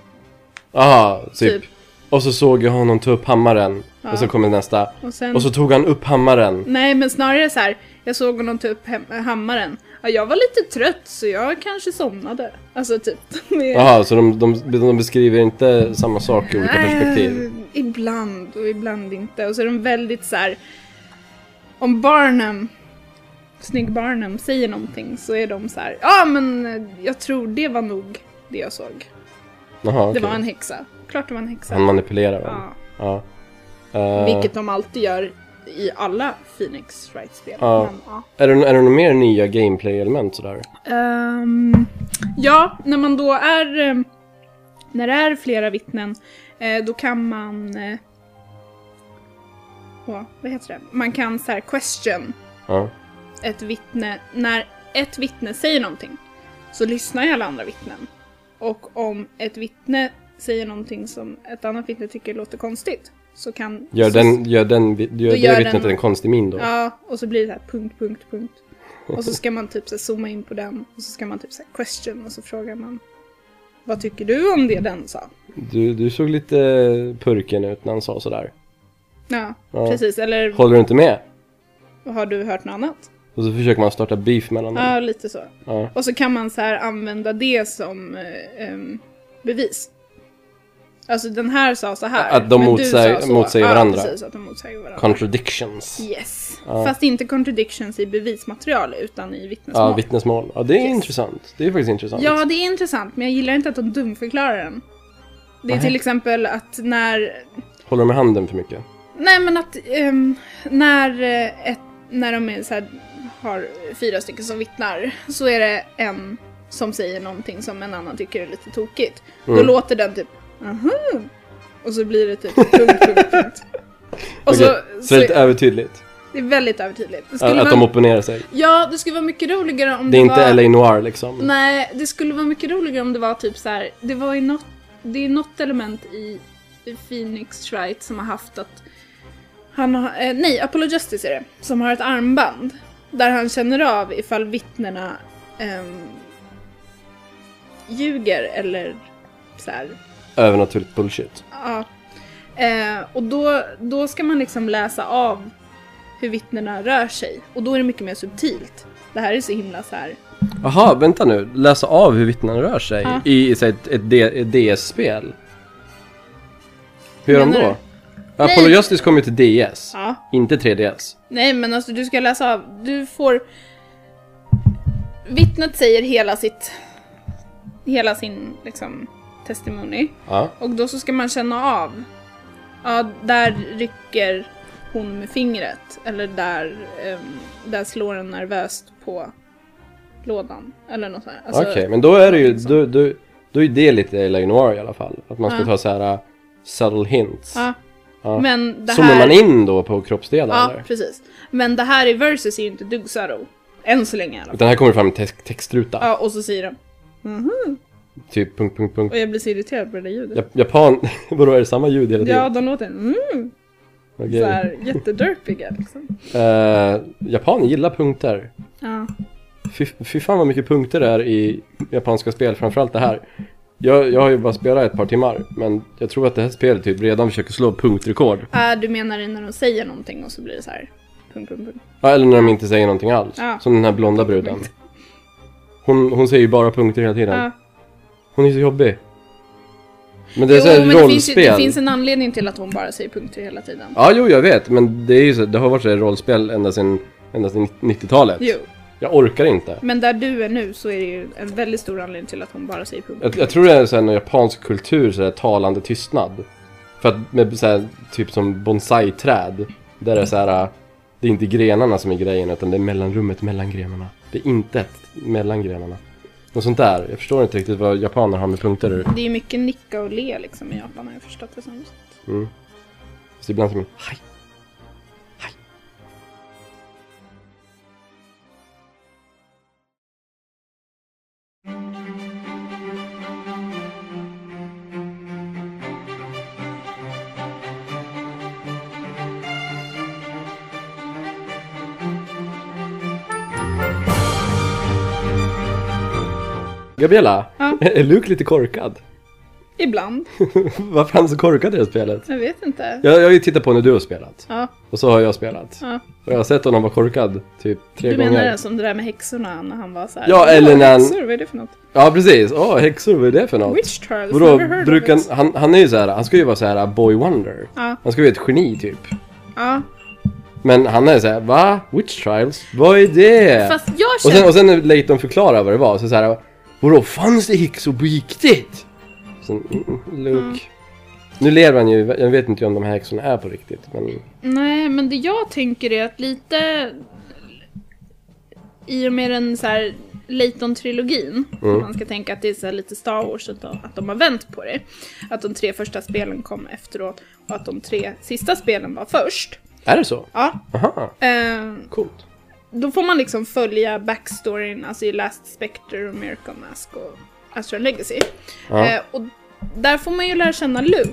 S2: Aha, typ.
S1: Typ.
S2: Och så såg jag honom ta upp hammaren. Och så kommer nästa.
S1: Och sen...
S2: Och så tog han upp hammaren.
S1: Nej, men snarare så här. Jag såg honom ta upp hem- hammaren. Ja, jag var lite trött så jag kanske somnade. Alltså typ. Med...
S2: Jaha, så de, de, de beskriver inte samma sak i olika perspektiv?
S1: Eh, ibland och ibland inte. Och så är de väldigt så här. Om Barnum, snygg Barnum, säger någonting så är de så här. Ja, men eh, jag tror det var nog det jag såg.
S2: Jaha, okej. Mm.
S1: Det var en häxa. Klart det var en häxa.
S2: Han manipulerar dem?
S1: Ja.
S2: Ja. Eh,
S1: Vilket de alltid gör i alla Phoenix Wright-spel.
S2: Ja.
S1: Men, ja.
S2: är, det, är det några mer nya gameplay-element sådär?
S1: Ehm, ja, när man då är... eh, När det är flera vittnen, eh, då kan man... eh, Åh, vad heter det? Man kan så här question
S2: Ja.
S1: ett vittne. När ett vittne säger någonting så lyssnar ju alla andra vittnen. Och om ett vittne säger någonting som ett annat vittne tycker låter konstigt så kan...
S2: Gör,
S1: så,
S2: den, gör, den, vi- gör
S1: Då
S2: det
S1: gör
S2: vittnet
S1: den-
S2: en konstig min då?
S1: Ja, och så blir det så här punkt, punkt, punkt. Och så ska man typ så här zooma in på den och så ska man typ så här question och så frågar man Vad tycker du om det den sa?
S2: Du, du såg lite purken ut när han sa sådär.
S1: Ja,
S2: Ja.
S1: precis. Eller
S2: Håller du inte med?
S1: har du hört något annat?
S2: Och så försöker man starta beef mellan dem.
S1: Ja, lite så.
S2: Mm. Ja.
S1: Och så kan man så här använda det som eh, em, bevis. Alltså den här sa så här.
S2: Att de
S1: men du
S2: motsäger-
S1: sa så.
S2: motsäger varandra.
S1: Ja, precis. Att de motsäger varandra.
S2: Contradictions.
S1: yes. Fast inte contradictions i bevismaterial utan i vittnesmål.
S2: Ja, vittnesmål. Ja, det är
S1: Yes.
S2: intressant. Det är faktiskt intressant.
S1: Ja, det är intressant, men jag gillar inte att de dumförklarar den. Det är
S2: Nej.
S1: till exempel att när...
S2: Håller de med handen för mycket?
S1: Nej, men att ehm, när, eh, ett, när de är så här, har fyra stycken som vittnar så är det en som säger någonting som en annan tycker är lite tokigt. Då
S2: Mm.
S1: låter den typ aha och så blir det typ punkt, punkt, punkt. Och
S2: Okej,
S1: så,
S2: så det är lite övertydligt.
S1: det är väldigt övertydligt. Det skulle
S2: Att, att de
S1: vara,
S2: opponerar sig.
S1: ja, det skulle vara mycket roligare om
S2: Det är inte
S1: var...
S2: LA Noir liksom.
S1: Nej, det skulle vara mycket roligare om det var typ så här. Det var ju något, det är något element i i Phoenix Wright som har haft att han har, eh, nej, Apollo Justice är det, som har ett armband där han känner av ifall vittnena ehm, ljuger eller så här,
S2: Övernaturligt bullshit.
S1: ja. Eh, och då, då ska man liksom läsa av hur vittnena rör sig och då är det mycket mer subtilt. Det här är så himla så här
S2: Jaha, vänta nu. Läsa av hur vittnen rör sig
S1: Ja.
S2: i, i så här, ett, ett, D- ett DS-spel. Hur gör de
S1: Menar
S2: då? Apollo Justice kom ju till DS,
S1: ja.
S2: inte 3DS.
S1: Nej men alltså du ska läsa av, du får... Vittnet säger hela sitt... Hela sin liksom testimony.
S2: Ja.
S1: Och då så ska man känna av. Ja, där rycker hon med fingret. Eller där, ehm, där slår den nervöst på lådan. Eller något Alltså, sånt.
S2: Okej, men då är det ju, då, då, då är det lite LA Noir i alla fall. Att man ska
S1: liksom. Ja.
S2: ta så här uh, subtle hints.
S1: ja.
S2: Ja.
S1: Men det
S2: Zoomar
S1: här...
S2: man in då på kroppsdelar
S1: Ja,
S2: eller?
S1: precis. Men det här i Versus är ju inte dugg så här då. Än så länge i alla fall.
S2: Utan här kommer fram en tex- textruta.
S1: Ja, och så säger de. "Mhm."
S2: Typ punkt, punkt, punkt.
S1: Och jag blir så irriterad på det där ljudet.
S2: Ja- Japan, vadå är det samma ljud hela
S1: Ja,
S2: tiden?
S1: de låter mm,
S2: Okej.
S1: så här jättedörpiga liksom.
S2: Eh, Japan gillar punkter.
S1: Ja.
S2: Fy, fy fan vad mycket punkter det är i japanska spel, framförallt det här. Jag, jag har ju bara spelat ett par timmar, men jag tror att det här spelet typ redan försöker slå punktrekord.
S1: Ah, du menar det när de säger någonting och så blir det så här. Punkt, punkt, punkt.
S2: Ja, eller när de inte säger någonting alls.
S1: Ja.
S2: Som den här blonda bruden. Hon, hon säger ju bara punkter hela tiden.
S1: Ja.
S2: Hon är så jobbig. Men det är så här
S1: jo, men det finns, ju,
S2: rollspel.
S1: det finns en anledning till att hon bara säger punkter hela tiden.
S2: Ja, jo, jag vet. Men det, är ju så, det har varit så här rollspel ända sedan, ända sedan 90-talet.
S1: Jo,
S2: Jag orkar inte.
S1: men där du är nu så är det ju en väldigt stor anledning till att hon bara säger punkter.
S2: Jag, jag tror det är så här, en japansk kultur, så här, talande tystnad. För att med så här, typ som bonsai-träd. Där det är så här, äh, det är inte grenarna som är grejen utan det är mellanrummet mellan grenarna. Det är inte ett mellan grenarna. Något sånt där. Jag förstår inte riktigt vad japaner har med punkter
S1: Det är ju mycket nicka och le liksom i Japan har jag förstått det som.
S2: mm. Så ibland som hej. Gabriella,
S1: Ja.
S2: är Luke lite korkad?
S1: Ibland.
S2: Varför är han så korkad i det här spelet?
S1: Jag vet inte.
S2: Jag, jag har ju tittat på när du har spelat.
S1: Ja,
S2: Och så har jag spelat.
S1: ja.
S2: Och jag har sett honom vara korkad typ tre
S1: Du
S2: gånger.
S1: menar alltså- det som det där med häxorna när han var såhär
S2: Ja, eller när han-
S1: häxor, vad är det för något?
S2: Ja precis, åh häxor, vad är det för något?
S1: Witch trials,
S2: Vadå,
S1: never heard of
S2: brukar,
S1: it.
S2: han, han är ju så här, han ska ju vara så här uh, boy wonder.
S1: Ja,
S2: Han ska ju vara ett geni typ.
S1: ja.
S2: Men han är så här, va? Witch trials? Vad är det?
S1: Fast jag
S2: och,
S1: känner...
S2: sen, och sen när Layton förklarar vad det var, så, så här, vadå fanns det häxor på riktigt? Sen, mm, Luke.
S1: Mm.
S2: Nu lever han ju, jag vet inte om de här häxorna är på riktigt. Men
S1: Nej, men det jag tänker är att lite... I och med den så här Layton-trilogin,
S2: Mm.
S1: om man ska tänka att det är så här lite Star Wars, att de, att de har vänt på det. Att de tre första spelen kom efteråt och att de tre sista spelen var först.
S2: är det så?
S1: Ja.
S2: Aha,
S1: Eh,
S2: coolt.
S1: då får man liksom följa backstoryn, alltså i Last Spectre och Miracle Mask och Astral Legacy.
S2: Ja.
S1: Eh, och där får man ju lära känna Luke.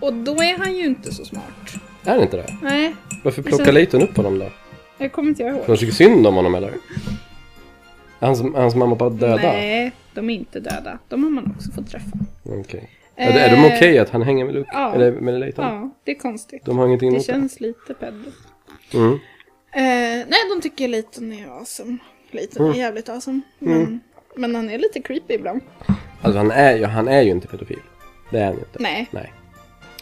S1: Och då är han ju inte så smart.
S2: Är det inte det?
S1: Nej,
S2: Varför
S1: Men sen-
S2: plockar Layton upp honom då?
S1: jag kommer inte ihåg.
S2: De tycker synd om honom eller? Hans, hans mamma och pappa döda?
S1: Nej, de är inte döda. De har man också fått träffa.
S2: Okej. Är, det- är de
S1: Eh,
S2: okej att han hänger med Luke?
S1: ja.
S2: Eller med Layton?
S1: Ja, det är konstigt.
S2: De har ingenting
S1: Det
S2: emot det?
S1: känns lite pedo.
S2: Mm.
S1: Eh, nej, de tycker Layton är awesome. Layton
S2: Mm.
S1: är jävligt awesome. Men, men han är lite creepy ibland.
S2: Alltså han är, ju, han är ju inte pedofil. Det är han ju inte.
S1: Nej,
S2: Nej.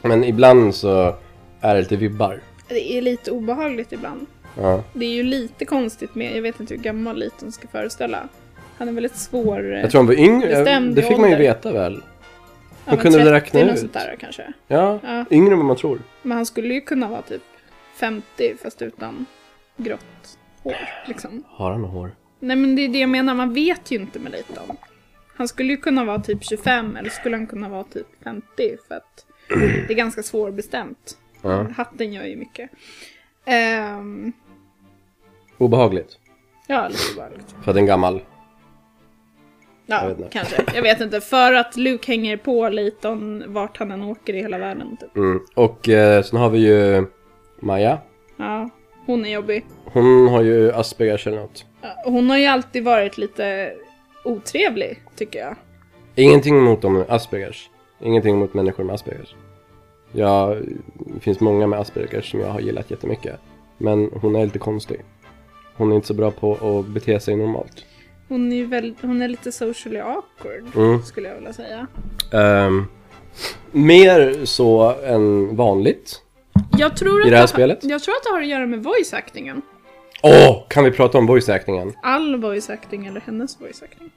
S2: Men ibland så är det lite vibbar.
S1: det är lite obehagligt ibland.
S2: Ja.
S1: Det är ju lite konstigt med, jag vet inte hur gammal Layton ska föreställa. Han är väldigt svår. eh,
S2: Jag tror han var yngre.
S1: Bestämd
S2: det
S1: i
S2: fick man ju
S1: ålder.
S2: veta väl?
S1: ja, men
S2: kunde du
S1: 30
S2: räkna
S1: något
S2: ut?
S1: sånt där kanske.
S2: Ja,
S1: Ja.
S2: yngre än vad man tror.
S1: Men han skulle ju kunna vara typ 50 fast utan grått hår liksom.
S2: Har han något hår?
S1: Nej men det är det jag menar, man vet ju inte med Layton. Han skulle ju kunna vara typ 25 eller skulle han kunna vara typ 50 för att det är ganska svårbestämt.
S2: Ja.
S1: Hatten gör ju mycket. Ehm,
S2: Obehagligt.
S1: ja, lite obehagligt.
S2: För att en gammal. Jag
S1: Ja,
S2: vet inte.
S1: kanske. Jag vet inte. För att Luke hänger på Layton vart han än åker i hela världen typ.
S2: Mm. Och eh, sen har vi ju Maja.
S1: Ja, hon är jobbig.
S2: Hon har ju Aspergers eller något.
S1: Ja, Hon har ju alltid varit lite otrevlig, tycker jag.
S2: Ingenting mot dem med Aspergers. Ingenting mot människor med Aspergers. Jag, det finns många med Aspergers som jag har gillat jättemycket. Men hon är lite konstig. Hon är inte så bra på att bete sig normalt.
S1: Hon är, ju väl, hon är lite socially awkward,
S2: Mm.
S1: skulle jag vilja säga.
S2: Ehm, mer så än vanligt.
S1: Jag tror
S2: I
S1: att
S2: det här
S1: har-
S2: spelet?
S1: Jag tror att det har att göra med voice-actingen.
S2: Åh, kan vi prata om voice-actingen?
S1: All voice-acting eller hennes voice-acting.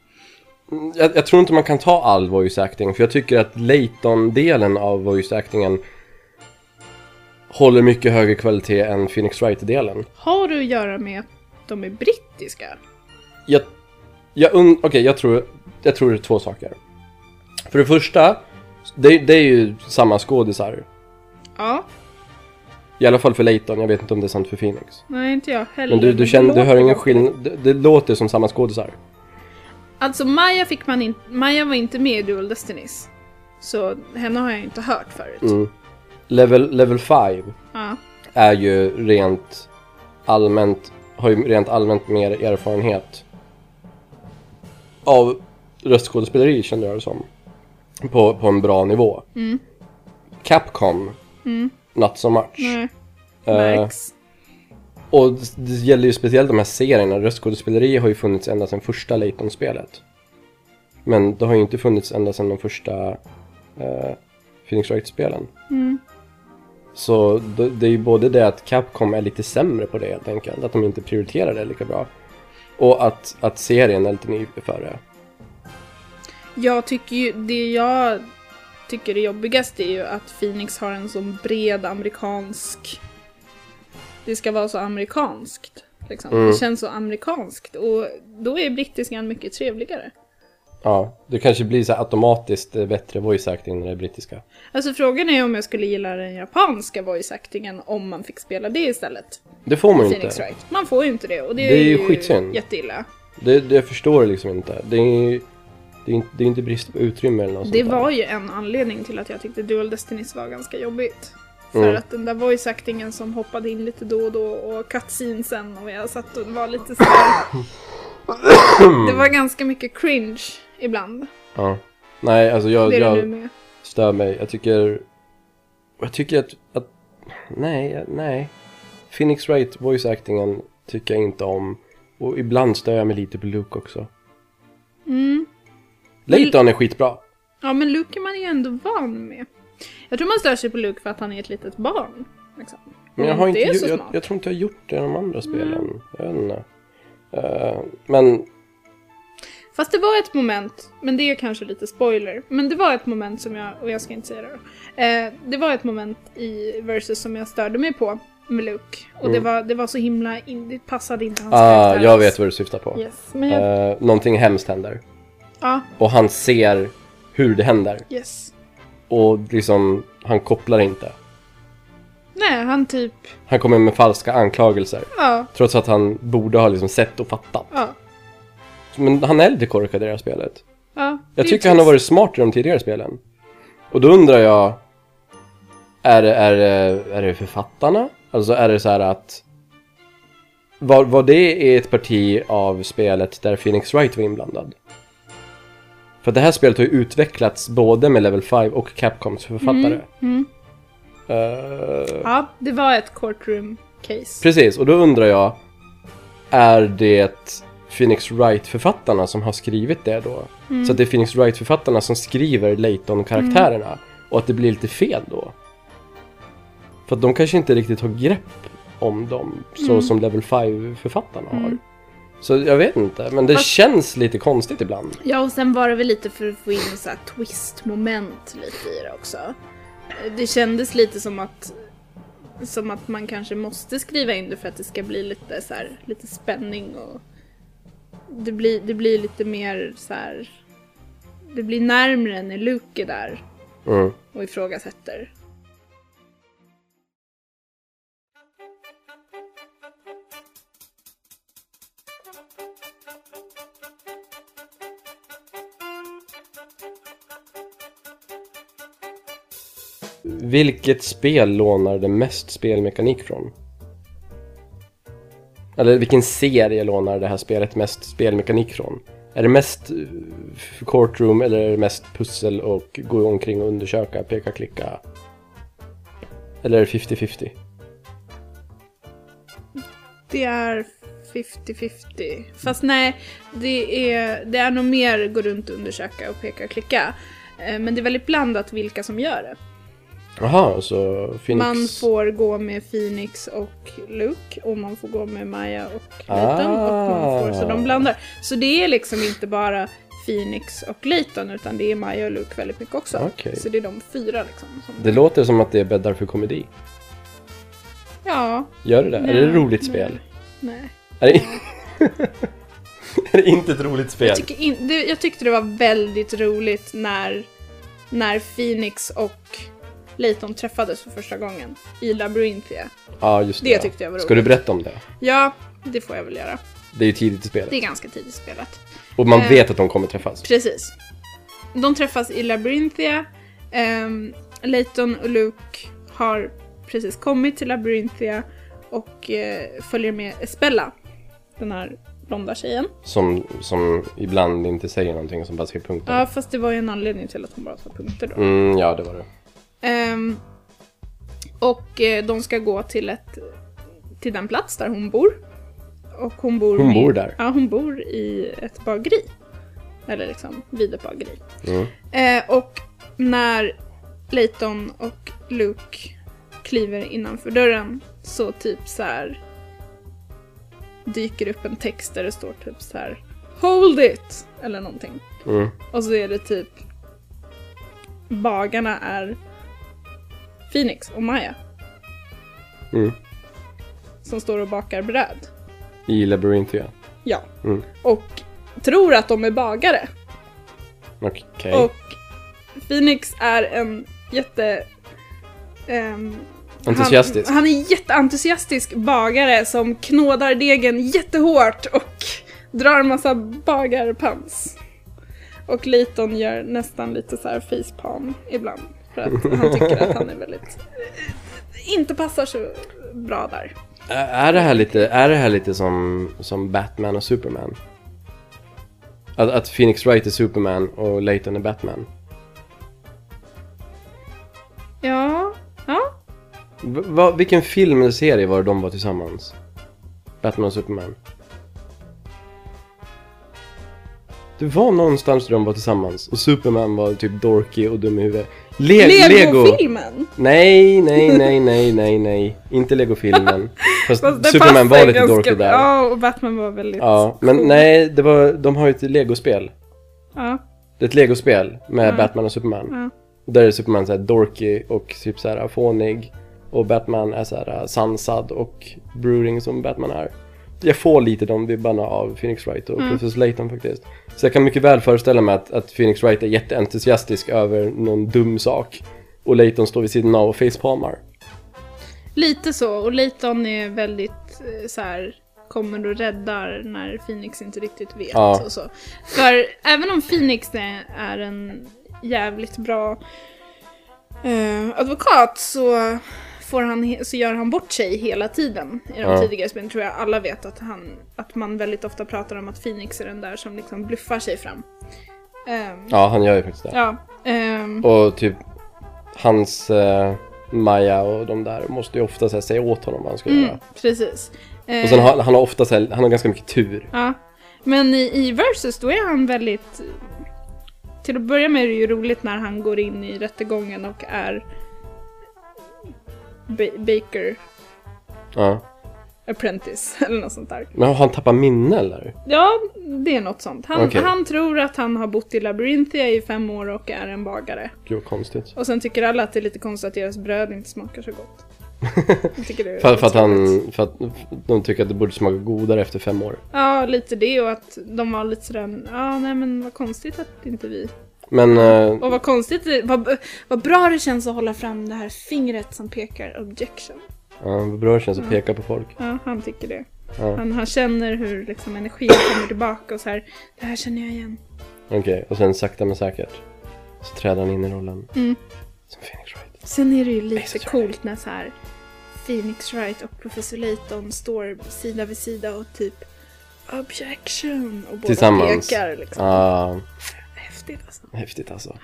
S2: Mm, Jag, jag tror inte man kan ta all voice-acting, för jag tycker att Layton-delen av voice-actingen håller mycket högre kvalitet än Phoenix Wright-delen.
S1: Har du att göra med att de är brittiska?
S2: Jag, jag und- okej, jag tror, jag tror det är två saker. För det första, det, det är ju samma skådisar.
S1: Ja.
S2: I alla fall för Layton, jag vet inte om det är sant för Phoenix.
S1: Nej, inte jag heller.
S2: Men du, du,
S1: det
S2: känner, du
S1: låter
S2: hör ingen
S1: ganska-
S2: skillnad, det, det låter som samma skådisar.
S1: Alltså, Maja fick man inte... Maja var inte med i Dual Destinies. Så henne har jag inte hört förut.
S2: Mm. Level, level 5
S1: Ja.
S2: är ju rent allmänt, har ju rent allmänt mer erfarenhet av röstskådespeleri kände jag det som. På, på en bra nivå.
S1: Mm.
S2: Capcom, not so much.
S1: Nej.
S2: Eh,
S1: Märks.
S2: Och det- det gäller ju speciellt de här serierna. Röstskådespeleri har ju funnits ända sedan första Layton-spelet. Men det har ju inte funnits ända sedan de första eh, Phoenix Wright-spelen.
S1: Mm.
S2: Så det, det är ju både det att Capcom är lite sämre på det helt enkelt, att de inte prioriterar det lika bra. Och att, att serien är lite ny för det.
S1: Jag tycker ju, det jag tycker är jobbigast är ju att Phoenix har en sån bred amerikansk... Det ska vara så amerikanskt. Liksom.
S2: Mm.
S1: Det känns så amerikanskt och då är brittiskan mycket trevligare.
S2: Ja, det kanske blir så här automatiskt eh, bättre voice acting när det är brittiska.
S1: Alltså frågan är om jag skulle gilla den japanska voice-actingen om man fick spela det istället.
S2: Det får man ju
S1: Phoenix
S2: inte.
S1: Wright. Man får ju inte det och det,
S2: Det är ju
S1: ju
S2: skitsynd.
S1: jätteilla.
S2: Det, det förstår jag liksom inte. Det är ju det är inte, det är inte brist på utrymme eller något
S1: Det
S2: sånt där.
S1: var ju en anledning till att jag tyckte Dual Destinies var ganska jobbigt. För
S2: Mm.
S1: att den där voice-actingen som hoppade in lite då och då och cutscenesen och jag satt och var lite sådär. det var ganska mycket cringe ibland.
S2: Ja. Nej, alltså jag,
S1: Det är det
S2: jag
S1: nu med.
S2: stör mig. Jag tycker... Jag tycker att... att nej, jag- nej. Phoenix Wright voice actingen tycker jag inte om. Och ibland stör jag mig lite på Luke också.
S1: Mm.
S2: Layton är skitbra.
S1: Ja men Luke är man ju ändå van med. Jag tror man stör sig på Luke för att han är ett litet barn. Liksom.
S2: Men jag,
S1: Och
S2: har
S1: inte
S2: inte,
S1: är så
S2: jag, jag,
S1: smart. Mm.
S2: jag tror inte jag har gjort det i de andra spelen. Jag vet inte. Eh, men
S1: Fast det var ett moment, men det är kanske lite spoiler, men det var ett moment som jag, och jag ska inte säga det då. Eh, det var ett moment i Versus som jag störde mig på med Luke. Och det,
S2: Mm.
S1: var, det var så himla, in, det passade inte hans
S2: ah, jag
S1: alls.
S2: vet vad du syftar på.
S1: Yes, men jag,
S2: Eh, någonting hemskt händer.
S1: ja,
S2: Och han ser hur det händer.
S1: yes.
S2: Och liksom, han kopplar inte.
S1: Nej, han typ,
S2: Han kommer med falska anklagelser.
S1: ja,
S2: Trots att han borde ha liksom sett och fattat.
S1: ja,
S2: Men han är lite korkad i det här spelet.
S1: ja. det
S2: Jag
S1: är
S2: tycker han har
S1: trist.
S2: varit smart i de tidigare spelen. Och då undrar jag, är det, är det, är det författarna? Alltså är det så här att, var, var det ett parti av spelet där Phoenix Wright var inblandad? För det här spelet har ju utvecklats både med Level 5 och Capcoms författare.
S1: Mm.
S2: Eh,
S1: Ja, det var ett courtroom case.
S2: precis, och då undrar jag, är det Phoenix Wright-författarna som har skrivit det då?
S1: Mm.
S2: Så att det är Phoenix Wright-författarna som skriver Layton-karaktärerna.
S1: Mm.
S2: Och att det blir lite fel då. För att de kanske inte riktigt har grepp om dem. Så
S1: Mm.
S2: som Level 5-författarna har.
S1: Mm.
S2: Så jag vet inte. Men det
S1: Fast-
S2: känns lite konstigt ibland.
S1: Ja, och sen var det väl lite för att få in så här twist-moment lite i det också. Det kändes lite som att som att man kanske måste skriva in det för att det ska bli lite så här, lite spänning och det blir, det blir lite mer så här det blir närmre när Luke är där
S2: Mm.
S1: och ifrågasätter.
S2: Vilket spel lånar det mest spelmekanik från? Eller vilken serie lånar det här spelet mest spelmekanik från? Är det mest eh, f- courtroom eller är det mest pussel och gå omkring och undersöka, peka, klicka? Eller är det 50-50?
S1: Det är 50-50. Fast nej, det är, det är nog mer gå runt och undersöka och peka och klicka. Eh, Men det är väldigt blandat vilka som gör det.
S2: Jaha, så Phoenix...
S1: Man får gå med Phoenix och Luke och man får gå med Maya och Layton och man
S2: Ah.
S1: får, så de blandar. Så det är liksom inte bara Phoenix och Layton utan det är Maya och Luke väldigt mycket också.
S2: Okej.
S1: Så det är de fyra liksom. Som...
S2: Det låter som att det bäddar för komedi.
S1: Ja,
S2: Gör det det? Är det ett
S1: Nej,
S2: roligt spel?
S1: nej.
S2: Är det... är det inte ett roligt spel?
S1: Jag, tycker in... det, jag tyckte det var väldigt roligt när, när Phoenix och Layton träffades för första gången i Labyrinthia.
S2: Ja, just det.
S1: Det tyckte jag var
S2: Ska du berätta om det?
S1: Ja, det får jag väl göra.
S2: Det är ju tidigt i spelet.
S1: Det är ganska tidigt spelat.
S2: Och man
S1: Eh.
S2: vet att de kommer träffas.
S1: Precis. De träffas i Labyrinthia. Um, Layton och Luke har precis kommit till Labyrinthia och eh, följer med Espella, den här blonda tjejen.
S2: Som, som ibland inte säger någonting som bara ser punkter.
S1: Ja, fast det var ju en anledning till att hon bara tar punkter då.
S2: Mm, ja, det var det.
S1: Ehm, och eh, de ska gå till, ett, till den plats där hon bor. Och hon bor
S2: Hon
S1: med,
S2: bor där?
S1: Ja, hon bor i ett bageri. Eller liksom videobageri.
S2: Mm.
S1: Eh, och när Layton och Luke kliver innanför dörren så typ så här dyker upp en text där det står typ så här Hold it! Eller någonting.
S2: Mm.
S1: Och så är det typ bagarna är Phoenix och Maya
S2: Mm.
S1: som står och bakar bröd.
S2: I Labyrinthia.
S1: Ja.
S2: Mm.
S1: Och tror att de är bagare.
S2: Okej.
S1: Och Phoenix är en jätte... ehm,
S2: Entusiastisk.
S1: Han, han är jätteentusiastisk bagare som knådar degen jättehårt och drar en massa bagarpans. Och Leighton gör nästan lite så här facepalm ibland. För att han tycker att han är väldigt... Inte passar så bra där.
S2: Ä- Är det här lite, är det här lite som, som Batman och Superman? Att, att Phoenix Wright är Superman och Layton är Batman?
S1: Ja. Ja.
S2: V- vad- vilken film eller serie var det de var tillsammans? Batman och Superman? Det var någonstans där de var tillsammans och Superman var typ dorky och dum i huvudet. Le-
S1: Lego-filmen!
S2: Nej, nej, nej, nej, nej, nej. Inte Lego-filmen. Fast
S1: Fast det
S2: Superman
S1: passar
S2: var lite
S1: ganska-
S2: dorky där.
S1: Ja, och Batman var väldigt...
S2: Ja, men nej, det var, de har ju ett legospel.
S1: Ja.
S2: Det är ett legospel med
S1: Ja.
S2: Batman och Superman.
S1: Ja.
S2: Där är Superman såhär dorky och typ såhär fånig. Och Batman är såhär sansad och brooding som Batman är. Jag får lite de vibbarna av Phoenix Wright
S1: Mm.
S2: och Professor Layton faktiskt. Så jag kan mycket väl föreställa mig att, att Phoenix Wright är jätteentusiastisk över någon dum sak. Och Layton står vid sidan av och facepalmar.
S1: Lite så, och Leighton är väldigt eh, så här kommer och räddar när Phoenix inte riktigt vet
S2: Ja.
S1: och så. För även om Phoenix är- är en jävligt bra eh, advokat så, får han, he- så gör han bort sig hela tiden i de
S2: Ja.
S1: tidigare spelen. tror jag alla vet att, han, att man väldigt ofta pratar om att Phoenix är den där som liksom bluffar sig fram. Ehm,
S2: Ja, han gör ju faktiskt det.
S1: ja. ehm,
S2: Och typ hans eh, Maja och de där måste ju ofta så här, säga åt honom vad han ska göra.
S1: mm, precis.
S2: Och sen har, han har ofta så här, han har ganska mycket tur.
S1: Ja. Men i, i Versus då är han väldigt... Till att börja med är det ju roligt när han går in i rättegången och är ba- Baker
S2: Ja.
S1: Apprentice eller något sånt där.
S2: Men har han tappat minne eller?
S1: Ja, det är något sånt. Han,
S2: Okej.
S1: han tror att han har bott i Labyrinthia i fem år och är en bagare.
S2: Gud vad konstigt.
S1: Och sen tycker alla att det är lite konstigt att deras bröd inte smakar så gott. Jag tycker det är
S2: För, för att
S1: otroligt.
S2: han, för att de tycker att det borde smaka godare efter fem år.
S1: Ja, lite det och att de var lite sådär, ja nej men vad konstigt att inte vi
S2: Men, eh,
S1: Och vad konstigt, det- vad, vad bra det känns att hålla fram det här fingret som pekar objection.
S2: ja, vad bra det känns att peka på folk.
S1: Ja, han tycker det.
S2: Ja.
S1: Han, han känner hur liksom, energin kommer tillbaka och så här, det här känner jag igen.
S2: Okej, och sen sakta men säkert så träder han in i rollen.
S1: Mm.
S2: Som Phoenix Wright.
S1: Sen är det ju lite
S2: Basically.
S1: coolt när så här Phoenix Wright och Professor Layton står sida vid sida och typ objection och båda
S2: Tillsammans.
S1: pekar liksom.
S2: Ah,
S1: Häftigt alltså.
S2: häftigt alltså.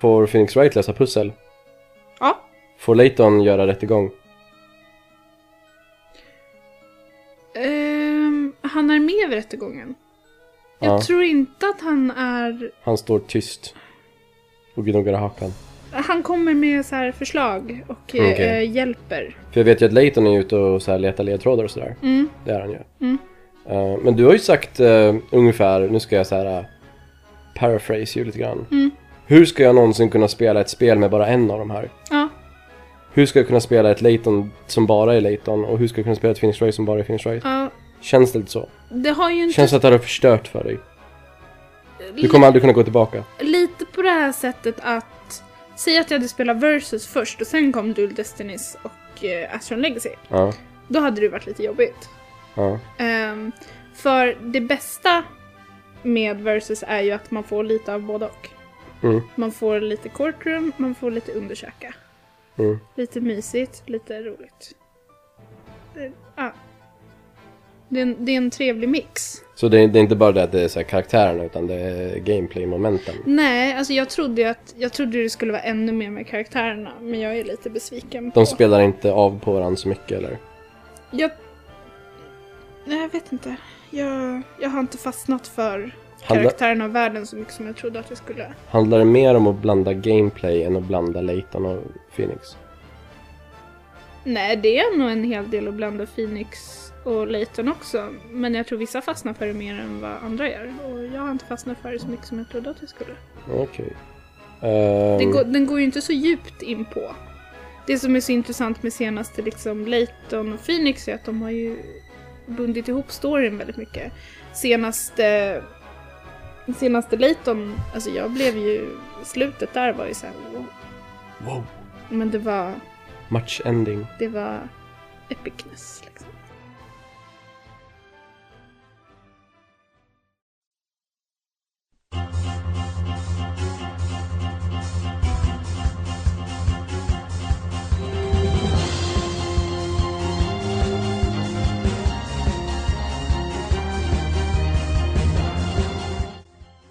S2: Får Phoenix Wright lösa pussel?
S1: Ja,
S2: Får Layton göra rättegång?
S1: ehm, han är med vid rättegången. Jag
S2: Ja.
S1: tror inte att han är
S2: Han står tyst och gnuggar hakan.
S1: Han kommer med så här förslag och
S2: Okej.
S1: eh, hjälper.
S2: För jag vet ju att Layton är ute och så här letar ledtrådar och sådär.
S1: Mm.
S2: Det är han ju.
S1: Mm.
S2: Eh, men du har ju sagt eh, ungefär, nu ska jag så här uh, paraphrase ju lite grann.
S1: Mm.
S2: Hur ska jag någonsin kunna spela ett spel med bara en av de här?
S1: Ja,
S2: Hur ska jag kunna spela ett Layton som bara är Layton och hur ska jag kunna spela ett Finish Race som bara är Finish Race?
S1: ja.
S2: Känns det lite så?
S1: Det har ju inte...
S2: Känns det att det har förstört för dig? Du kommer aldrig kunna gå tillbaka?
S1: li- Lite på det här sättet att... Säg att jag hade spelat Versus först och sen kom Dual Destinies och eh, Astron Legacy.
S2: Ja,
S1: Då hade det varit lite jobbigt.
S2: ja,
S1: Ehm, för det bästa med Versus är ju att man får lite av både och.
S2: mm,
S1: Man får lite courtroom, man får lite undersöka.
S2: mm.
S1: Lite mysigt, lite roligt. Det, ja. det, är, en, det är en trevlig mix.
S2: Så det är, det är inte bara det att det är så här karaktärerna utan det är gameplay-momenten.
S1: Nej, alltså jag trodde ju att jag trodde det skulle vara ännu mer med karaktärerna, men jag är lite besviken på...
S2: De spelar inte av på varandra så mycket eller?
S1: Jag... Nej, jag vet inte. Jag, jag har inte fastnat för
S2: Handlar-
S1: karaktärerna och världen så mycket som jag trodde att jag skulle.
S2: Handlar det mer om att blanda gameplay än att blanda Layton och Phoenix?
S1: Nej, det är nog en hel del att blanda Phoenix och Layton också. Men jag tror vissa fastnar för det mer än vad andra gör. Och jag har inte fastnat för det så mycket som jag trodde att jag skulle.
S2: Okej.
S1: Det
S2: Ehm,
S1: går, den går ju inte så djupt in på. Det som är så intressant med senaste liksom Layton och Phoenix är att de har ju bundit ihop storyn väldigt mycket. Senaste, senaste Layton, alltså jag blev ju, slutet där var ju såhär wow.
S2: Ehm, Wow!
S1: Men det var,
S2: Match ending.
S1: det var epicness liksom.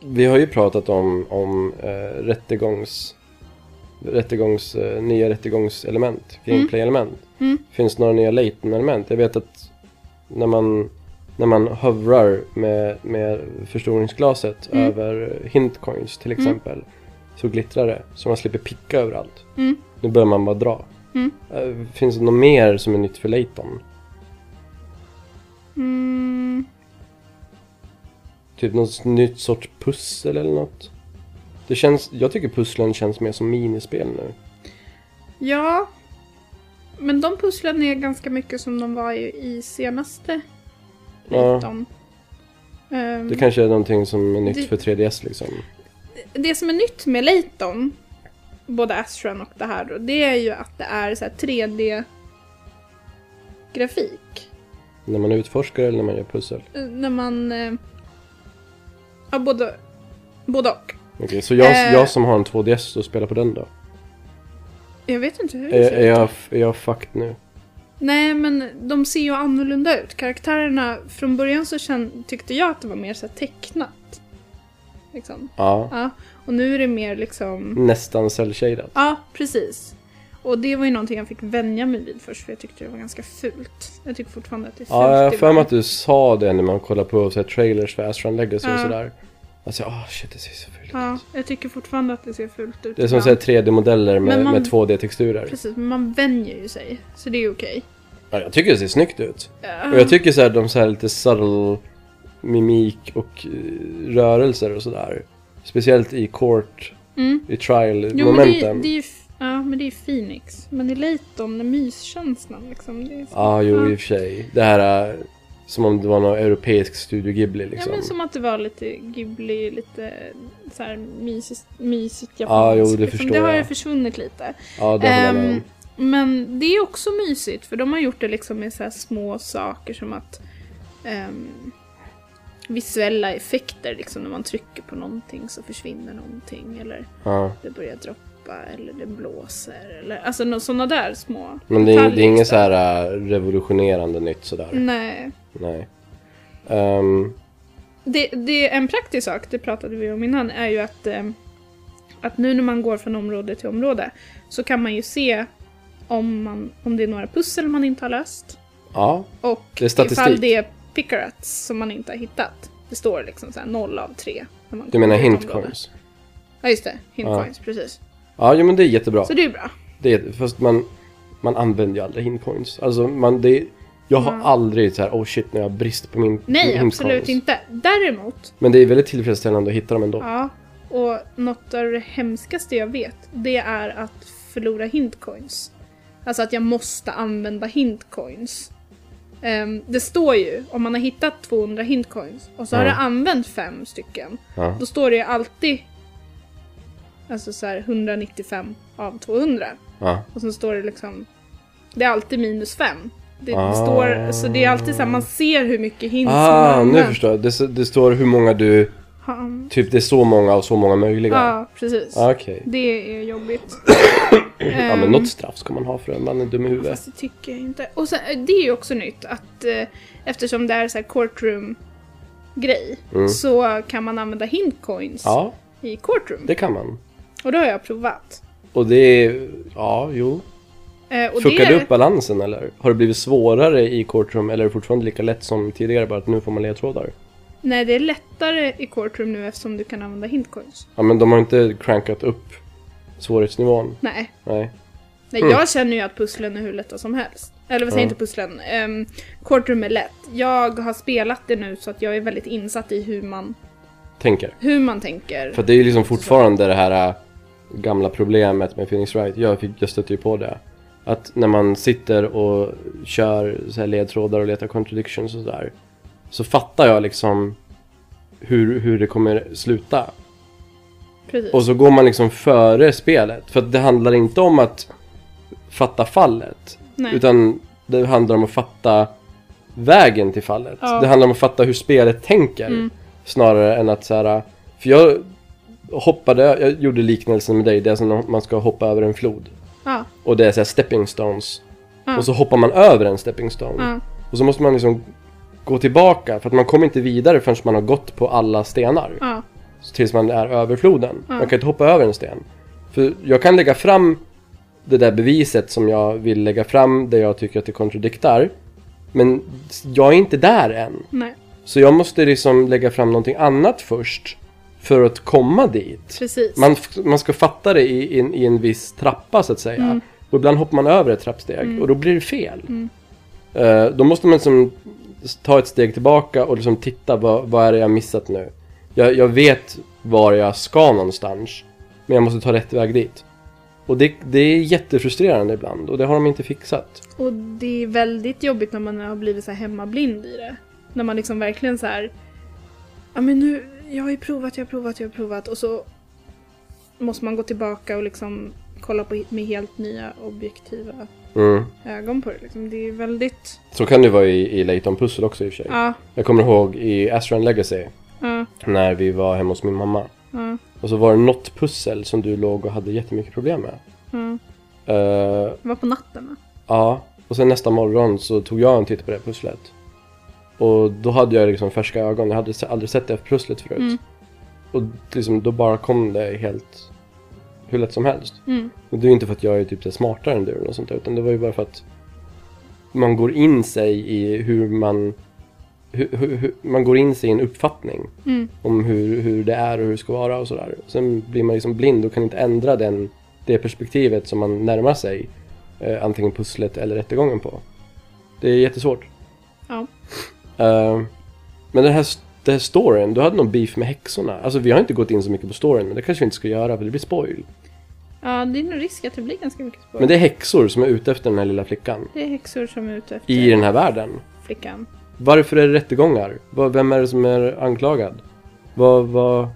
S2: Vi har ju pratat om, om eh, rättegångs... rättegångs eh, nya rättegångselement. Gameplay-element.
S1: Mm.
S2: Finns det några nya Layton-element? Jag vet att när man, när man hovrar med, med förstoringsglaset
S1: Mm.
S2: över hintcoins till exempel så glittrar det. Så man slipper picka överallt.
S1: Mm.
S2: Nu börjar man bara dra.
S1: Mm.
S2: Eh, finns det något mer som är nytt för Layton?
S1: Mm,
S2: Typ något nytt sorts pussel eller något. Det känns, jag tycker pusslen känns mer som minispel nu.
S1: ja. Men de pusslen är ganska mycket som de var ju i senaste
S2: Ja.
S1: Layton. Ehm,
S2: Det kanske är någonting som är nytt
S1: Det-
S2: för 3DS liksom.
S1: det som är nytt med Layton, både Astron och det här då, det är ju att det är så här 3D-grafik.
S2: När man utforskar eller när man gör pussel.
S1: Eh, När man... eh, Ja, både, både och.
S2: Okej, så jag,
S1: Eh.
S2: jag som har en 2DS och spelar på den då?
S1: Jag vet inte hur det
S2: Är,
S1: ser
S2: är,
S1: ut.
S2: jag, är jag fucked nu?
S1: Nej, men de ser ju annorlunda ut. Karaktärerna, från början så känn, tyckte jag att det var mer så här tecknat. Liksom.
S2: Ja.
S1: Ja, och nu är det mer liksom...
S2: Nästan cell-shaded.
S1: Ja, precis. Och det var ju någonting jag fick vänja mig vid först för jag tyckte det var ganska fult. Jag tycker fortfarande att det är fult.
S2: Ja, jag har för
S1: ibland.
S2: mig att du sa det när man kollar på så här, trailers för Astron Legacy och
S1: Ja.
S2: sådär. Alltså, ah shit det ser så fult ut.
S1: Ja, jag tycker fortfarande att det ser fult ut.
S2: Det är som
S1: ibland.
S2: så här 3D-modeller med,
S1: Men man-
S2: med 2D-texturer.
S1: Precis, men man vänjer ju sig. Så det är ju okej.
S2: Ja, jag tycker det ser snyggt ut.
S1: Ja.
S2: Och jag tycker så här, de så här lite subtle mimik och eh, rörelser och sådär. Speciellt i court,
S1: Mm. Jo, men
S2: i
S1: det, är-
S2: trial-momenten.
S1: det är ju... f- Ja, men det är Phoenix. Men i Layton, den myskänslan liksom. Det är så...
S2: Ja, jo i och för sig. Det här eh, som om det var någon europeisk Studio Ghibli
S1: Ja,
S2: liksom.
S1: men som att det var lite Ghibli, lite så här mysigt, mysigt
S2: Ja,
S1: japanskt.
S2: jo, det
S1: liksom.
S2: förstår
S1: det har ju
S2: jag.
S1: försvunnit lite.
S2: Ja, det håller jag med om.
S1: Ehm, men det är också mysigt för de har gjort det liksom med så här små saker som att ehm, visuella effekter, liksom när man trycker på någonting så försvinner någonting eller
S2: Ja.
S1: det börjar droppa eller det blåser eller alltså nå- sådana där små
S2: Men det är, det är
S1: detaljer,
S2: inget så
S1: liksom.
S2: här eh, revolutionerande nytt sådär.
S1: Nej.
S2: Nej. Ehm,
S1: Det, det är en praktisk sak, det pratade vi om innan, är ju att, eh, att nu när man går från område till område så kan man ju se om, man, om det är några pussel man inte har löst.
S2: ja,
S1: Och
S2: Det är statistik.
S1: ifall det är pickarats som man inte har hittat. Det står liksom så här 0 av 3. När man
S2: du menar
S1: kommer till området.
S2: hintcoins?
S1: Ja just det,
S2: Ja.
S1: hintcoins, precis.
S2: Ja, jo men det är jättebra.
S1: Så det är ju bra.
S2: Det är, fast man, man använder ju aldrig hintcoins. Alltså man, det, jag har
S1: Ja.
S2: aldrig så här, oh shit, nu har jag brist på min
S1: Mm. Nej,
S2: min
S1: absolut
S2: hintcoins."
S1: inte. Däremot,
S2: Men det är väldigt tillfredsställande att hitta dem ändå.
S1: ja, och något av det hemskaste jag vet, det är att förlora hintcoins. Alltså att jag måste använda hintcoins. Ehm, det står ju, om man har hittat 200 hintcoins och så har
S2: Ja.
S1: du använt fem stycken,
S2: Ja.
S1: Då står det ju alltid alltså så här 195 av 200.
S2: Ja.
S1: Och sen står det liksom, det är alltid minus 5. Det,
S2: Ah.
S1: det står, så det är alltid så här, man ser hur mycket hints man
S2: Ah,
S1: har
S2: nu
S1: använt.
S2: förstår jag. Det, s- det står hur många du...
S1: Har an-
S2: Typ det är så många och så många möjliga.
S1: Ja, precis.
S2: Ah, Okej.
S1: Det är jobbigt.
S2: Ja, men
S1: Ehm,
S2: något straff ska man ha för att man är dum i huvudet.
S1: Fast det tycker jag inte. Och sen, eh, det är ju också nytt att eh, eftersom det är så här courtroom-grej
S2: Mm.
S1: så kan man använda hintcoins
S2: Ja,
S1: i courtroom.
S2: det kan man.
S1: Och det har jag provat.
S2: Och det är... Ja, jo.
S1: Eh, och
S2: Fuckar
S1: det,
S2: du upp balansen eller? Har det blivit svårare i courtroom eller är det fortfarande lika lätt som tidigare bara att nu får man ledtrådar?
S1: Nej, det är lättare i courtroom nu eftersom du kan använda hintcoins.
S2: Ja men de har inte crankat upp svårighetsnivån.
S1: Nej,
S2: Nej.
S1: Nej jag känner ju att pusslen är hur lätta som helst. Eller vad säger
S2: Mm. Ja.
S1: inte pusslen? Um, courtroom är lätt. Jag har spelat det nu så att jag är väldigt insatt i hur man,
S2: Tänker.
S1: hur man tänker.
S2: För det är ju liksom fortfarande det här äh, gamla problemet med Phoenix Wright. Jag, fick, jag stötte ju på det. Att när man sitter och kör så här ledtrådar och letar contradictions och sådär. Så fattar jag liksom hur, hur det kommer sluta.
S1: Precis.
S2: Och så går man liksom före spelet. För att det handlar inte om att fatta fallet.
S1: Nej.
S2: Utan det handlar om att fatta vägen till fallet.
S1: Ja. Mm.
S2: Det handlar om att fatta hur spelet tänker. Snarare än att så här. För jag hoppade, jag gjorde liknelsen med dig. Det är som om man ska hoppa över en flod.
S1: Ja,
S2: Och det är så här stepping stones.
S1: Ja.
S2: Och så hoppar man över en stepping stone.
S1: ja,
S2: Och så måste man liksom gå tillbaka. För att man kommer inte vidare förrän man har gått på alla stenar.
S1: ja,
S2: Så tills man är över floden. Man kan inte hoppa över en sten. För jag kan lägga fram det där beviset som jag vill lägga fram, där jag tycker att det kontradiktar. Men jag är inte där än.
S1: nej,
S2: Så jag måste liksom lägga fram någonting annat först för att komma dit.
S1: precis.
S2: Man, f- man ska fatta det i, i, en- i en viss trappa så att säga. Och ibland hoppar man över ett trappsteg och då blir det fel. Eh, då måste man liksom ta ett steg tillbaka och liksom titta vad, vad är det jag missat nu. Jag, jag vet var jag ska någonstans men jag måste ta rätt väg dit. Och det, det är jättefrustrerande ibland och det har de inte fixat.
S1: Och det är väldigt jobbigt när man har blivit så här hemmablind i det. När man liksom verkligen så här... Ja men nu, jag har ju provat, jag har provat, jag har provat och så måste man gå tillbaka och liksom kolla på, med helt nya objektiva
S2: Mm.
S1: ögon på det liksom. Det är väldigt...
S2: Så kan det vara i, i Layton Pussel också i och för sig.
S1: Ja,
S2: Jag kommer ihåg i Astron Legacy
S1: ja,
S2: när vi var hemma hos min mamma.
S1: ja,
S2: Och så var det något pussel som du låg och hade jättemycket problem med.
S1: ja.
S2: Eh,
S1: Det var på natten va?
S2: ja, och sen nästa morgon så tog jag en titt på det pusslet. Och då hade jag liksom färska ögon, jag hade se- aldrig sett det här pusslet förut.
S1: Mm.
S2: Och liksom, då bara kom det helt hur lätt som helst.
S1: Mm.
S2: Och det är ju inte för att jag är typ så här smartare än du eller något sånt där, utan det var ju bara för att man går in sig i hur man hur, hur, hur, man går in sig i en uppfattning
S1: Mm.
S2: om hur, hur det är och hur det ska vara och sådär. Sen blir man liksom blind och kan inte ändra den, det perspektivet som man närmar sig eh, antingen pusslet eller rättegången på. Det är jättesvårt.
S1: Ja.
S2: Eh, men den här, den här storyn, du hade någon beef med häxorna. Alltså vi har inte gått in så mycket på storyn, men det kanske vi inte ska göra för det blir spoil.
S1: Ja, det är nog risk att det blir ganska mycket spår.
S2: Men det är häxor som är ute efter den här lilla flickan.
S1: Det är häxor som är ute efter
S2: I den här världen.
S1: flickan.
S2: Varför är det rättegångar? Vad- Vem är det som är anklagad? Vad, vad,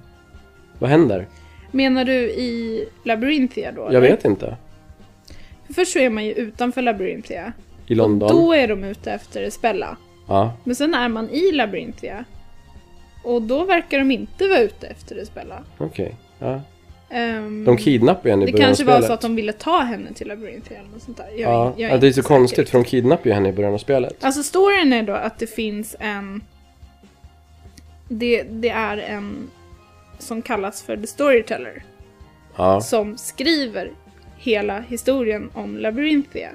S2: vad händer?
S1: Menar du i Labyrinthia då?
S2: Jag vet inte.
S1: Först så är man ju utanför Labyrinthia.
S2: I London?
S1: Då är de ute efter Spella.
S2: Ja.
S1: Men sen är man i Labyrinthia. Och då verkar de inte vara ute efter Spella.
S2: Okej. Ja.
S1: Ehm,
S2: De kidnappar ju henne i
S1: det
S2: början
S1: kanske
S2: av spelet.
S1: var så att de ville ta henne till Labyrinthia eller något sånt där. Jag, är-
S2: ja.
S1: jag är
S2: ja, det är
S1: inte
S2: så
S1: säker.
S2: konstigt för de kidnappar ju henne i början av spelet.
S1: Alltså storyn är då att det finns en... Det, det är en som kallas för The Storyteller.
S2: Ja.
S1: som skriver hela historien om Labyrinthia.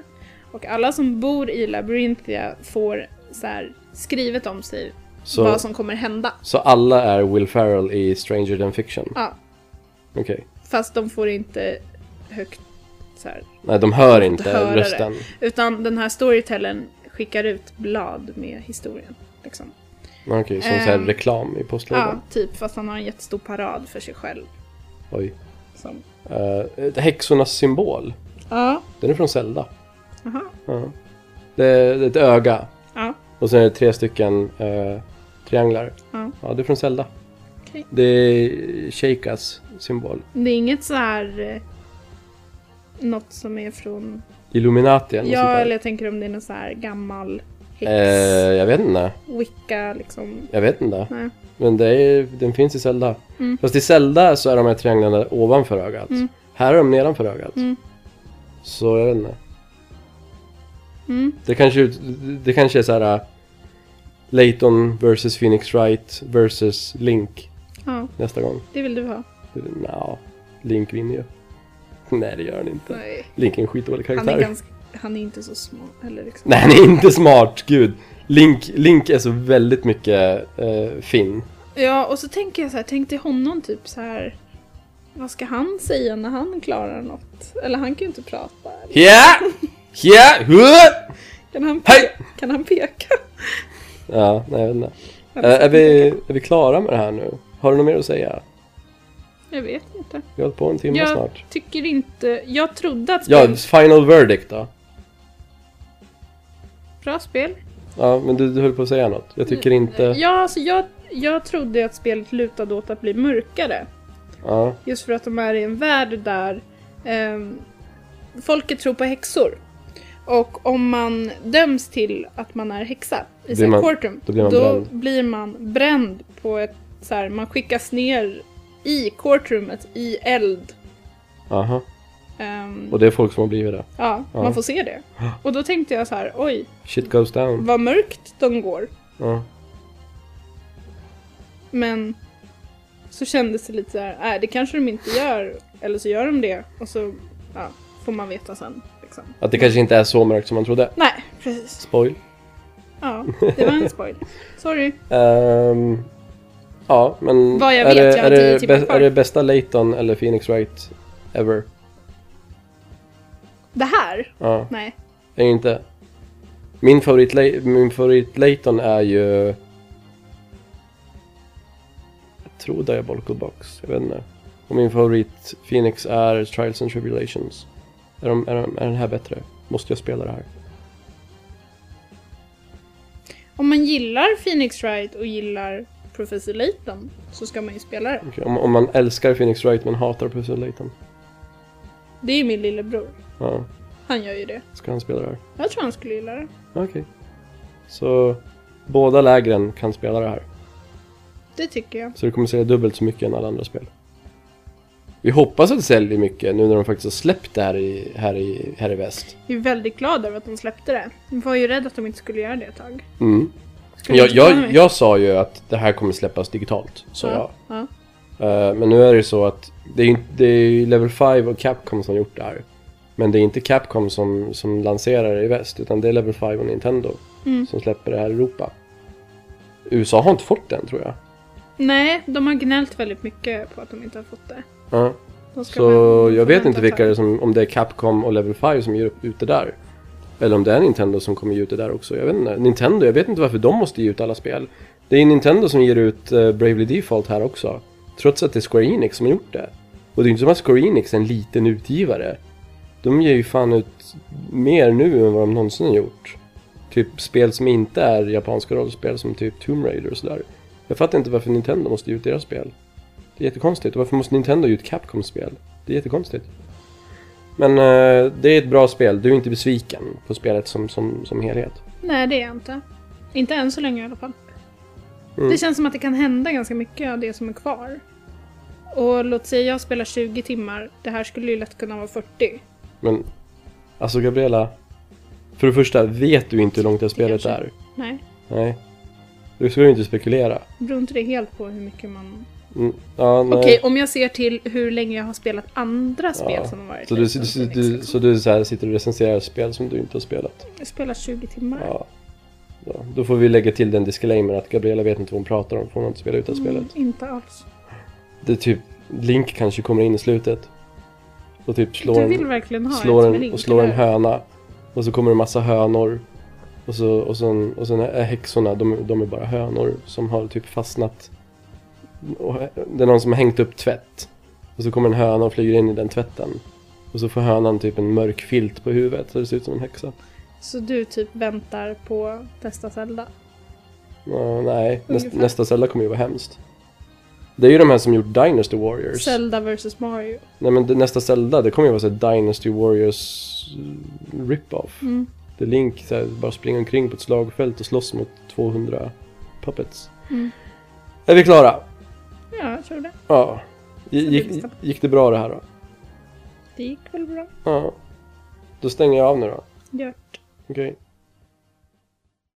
S1: Och alla som bor i Labyrinthia får så här, skrivet om sig
S2: Så,
S1: vad som kommer hända.
S2: så alla är Will Ferrell i Stranger Than Fiction?
S1: Ja,
S2: Okej.
S1: fast de får inte högt så här.
S2: Nej, de hör inte
S1: höra det.
S2: rösten.
S1: Utan den här storytellern skickar ut blad med historien. Liksom.
S2: Okej, som så här
S1: Ehm,
S2: reklam i
S1: Ja,
S2: postlådan.
S1: typ. Fast han har en jättestor parad för sig själv.
S2: Oj.
S1: Som...
S2: Eh, häxornas symbol.
S1: Ja.
S2: Den är från Zelda.
S1: Aha.
S2: Ja. Det är det är ett öga.
S1: Ja.
S2: Och sen är det tre stycken eh, trianglar.
S1: Ja.
S2: Ja, det är från Zelda.
S1: Okej.
S2: Det är Sheikas symbol.
S1: Det är inget så här... eh, Något som är från
S2: Illuminati eller något sånt
S1: Ja,
S2: där.
S1: eller jag tänker om det är någon så här gammal häx,
S2: Eh, jag vet inte.
S1: wicca liksom.
S2: Jag vet inte.
S1: Nej. Mm.
S2: Men det är, den finns i Zelda. Fast i Zelda så är de här trianglarna ovanför ögat. Här är de nedanför ögat.
S1: Mm.
S2: Så jag vet inte.
S1: Mm.
S2: Det kanske, ut- det kanske är så här. äh, Layton versus Phoenix Wright versus Link
S1: Ja,
S2: nästa gång.
S1: det vill du ha.
S2: Nja, Link vinner ju. Nej, det gör han inte.
S1: Nej.
S2: Link är en skitdålig
S1: Han är
S2: karaktär.
S1: ganska han är inte så smart. Eller liksom.
S2: Nej, han är inte smart, gud. Link, Link är så väldigt mycket eh, Finn.
S1: Ja, och så tänker jag så här, tänk till honom typ så här. Vad ska han säga när han klarar något? Eller han kan ju inte prata. Eller?
S2: Ja! Ja! huh!
S1: Kan han, pe-
S2: Hej!
S1: kan han peka?
S2: Ja, nej, jag vet inte. Eh, är, vi, är vi klara med det här nu? Har du något mer att säga?
S1: Jag vet inte.
S2: Vi har hållit på en timme
S1: Jag
S2: snart.
S1: tycker inte... Jag trodde att
S2: Ja,
S1: spel...
S2: final verdict då?
S1: Bra spel.
S2: Ja, men du, du höll på att säga något. Jag tycker inte...
S1: Ja, alltså jag, jag trodde att spelet lutade åt att bli mörkare.
S2: Ja,
S1: Just för att de är i en värld där ehm, folket tror på häxor. Och om man döms till att man är häxa i
S2: Blir man-
S1: sitt courtroom,
S2: då blir man bränd.
S1: blir man bränd på ett så här, man skickas ner i courtroomet i eld.
S2: aha.
S1: Ehm,
S2: Och det är folk som har blivit det.
S1: ja,
S2: ja.
S1: man får se det. Och då tänkte jag så här, oj,
S2: Shit goes down.
S1: vad mörkt de går.
S2: Ja.
S1: Men så kändes det lite så här, nej det kanske de inte gör. Eller så gör de det och så ja, får man veta sen. Liksom.
S2: Att det kanske inte är så mörkt som man trodde.
S1: Nej, precis.
S2: Spoil.
S1: Ja, det var en spoil. Sorry.
S2: Ehm, ja, men...
S1: Vad jag
S2: är
S1: vet,
S2: det,
S1: jag har
S2: är,
S1: tio
S2: det
S1: timmar
S2: bä-
S1: kvar.
S2: är det bästa Layton eller Phoenix Wright ever?
S1: Det här?
S2: Ja,
S1: Nej.
S2: är ju inte... Min favorit, Lay- min favorit Layton är ju... Jag tror Diabolical Box, jag vet inte. Och min favorit Phoenix är Trials and Tribulations. Är, de, är, de, är den här bättre? Måste jag spela det här?
S1: Om man gillar Phoenix Wright och gillar Professor Layton så ska man ju spela det.
S2: Okej, Om, om man älskar Phoenix Wright men hatar Pussel Layton.
S1: Det är ju min lillebror.
S2: Ja,
S1: Han gör ju det.
S2: ska han spela det här?
S1: Jag tror han skulle gilla det.
S2: Okej. Så båda lägren kan spela det här.
S1: Det tycker jag.
S2: Så det kommer sälja dubbelt så mycket än alla andra spel. Vi hoppas att det säljer mycket nu när de faktiskt har släppt det här i, här i, här i väst.
S1: Jag är väldigt glad över att de släppte det. Jag var ju rädd att de inte skulle göra det ett tag.
S2: Mm.
S1: Skulle
S2: Jag,
S1: inte förvåna
S2: jag,
S1: mig.
S2: jag sa ju att det här kommer släppas digitalt, så jag.
S1: ja. ja.
S2: Eh, men nu är det ju så att det är, ju- det är ju Level 5 och Capcom som har gjort det här. Men det är inte Capcom som, som lanserar det i väst, utan det är Level 5 och Nintendo
S1: Mm.
S2: som släpper det här i Europa. USA har inte fått den, tror jag.
S1: Nej, de har gnällt väldigt mycket på att de inte har fått det.
S2: Ja.
S1: De ska
S2: Så
S1: väl
S2: jag vet
S1: vänta
S2: inte
S1: ett
S2: vilka
S1: tag.
S2: det är som, om det är Capcom och Level 5 som ger upp- ut det där. Eller om det är Nintendo som kommer ge ut det där också. Jag vet inte. Nintendo, jag vet inte varför de måste ge ut alla spel. Det är Nintendo som ger ut eh, Bravely Default här också. Trots att det är Square Enix som har gjort det. Och det är inte som att Square Enix är en liten utgivare. De ger ju fan ut mer nu än vad de någonsin har gjort. Typ spel som inte är japanska rollspel som typ Tomb Raider och sådär. Jag fattar inte varför Nintendo måste ge ut deras spel. Det är jättekonstigt. Och varför måste Nintendo ge ut Capcom-spel? Det är jättekonstigt. Men eh, det är ett bra spel. Du är inte besviken på spelet som, som, som helhet.
S1: Nej, det är jag inte. Inte än så länge i alla fall.
S2: Mm.
S1: Det känns som att det kan hända ganska mycket av det som är kvar. Och låt säga jag spelar 20 timmar, det här skulle ju lätt kunna vara 40.
S2: Men alltså Gabriella. För det första, vet du inte hur långt det här spelet
S1: kanske-
S2: är?
S1: Nej,
S2: Nej. Du ska ju inte spekulera.
S1: beror inte det helt på hur mycket man...
S2: Mm, ja, nej.
S1: Okej, om jag ser till hur länge jag har spelat andra spel
S2: Ja,
S1: som har varit
S2: Så du,
S1: liksom
S2: du,
S1: Phoenix,
S2: du,
S1: liksom.
S2: så du så här sitter och recenserar spel som du inte har spelat?
S1: Jag spelar 20 timmar.
S2: Ja. ja. Då får vi lägga till den disclaimer att Gabriella vet inte vad hon pratar om för hon har inte spelat ut det här spelet.
S1: Mm, inte alls.
S2: Det är typ, Link kanske kommer in i slutet. Och typ slår
S1: du
S2: en-
S1: vill verkligen ha
S2: slår
S1: ett med
S2: en,
S1: link,
S2: och slår en
S1: eller?
S2: höna. Och så kommer det en massa hönor. Och, så, och, sen, och sen är häxorna, de, de är bara hönor som har typ fastnat. Och det är någon som har hängt upp tvätt. Och så kommer en höna och flyger in i den tvätten. Och så får hönan typ en mörk filt på huvudet så det ser ut som en häxa.
S1: Så du typ väntar på nästa Zelda?
S2: Ja, nej, näst,
S1: Ungefär.
S2: nästa Zelda kommer ju vara hemskt. Det är ju de här som gjort Dynasty Warriors.
S1: Zelda vs Mario.
S2: Nej men det, nästa Zelda, det kommer ju vara så här Dynasty Warriors eh, rip-off.
S1: Mm.
S2: The Link så här, bara springer omkring på ett slagfält och slåss mot 200 puppets.
S1: Mm.
S2: Är vi klara?
S1: Ja, jag tror det.
S2: Ja. G-
S1: Så
S2: Gick,
S1: blir det så.
S2: gick det bra det här då?
S1: Det gick väl bra.
S2: Ja. Då stänger jag av nu då.
S1: Gör
S2: Okej.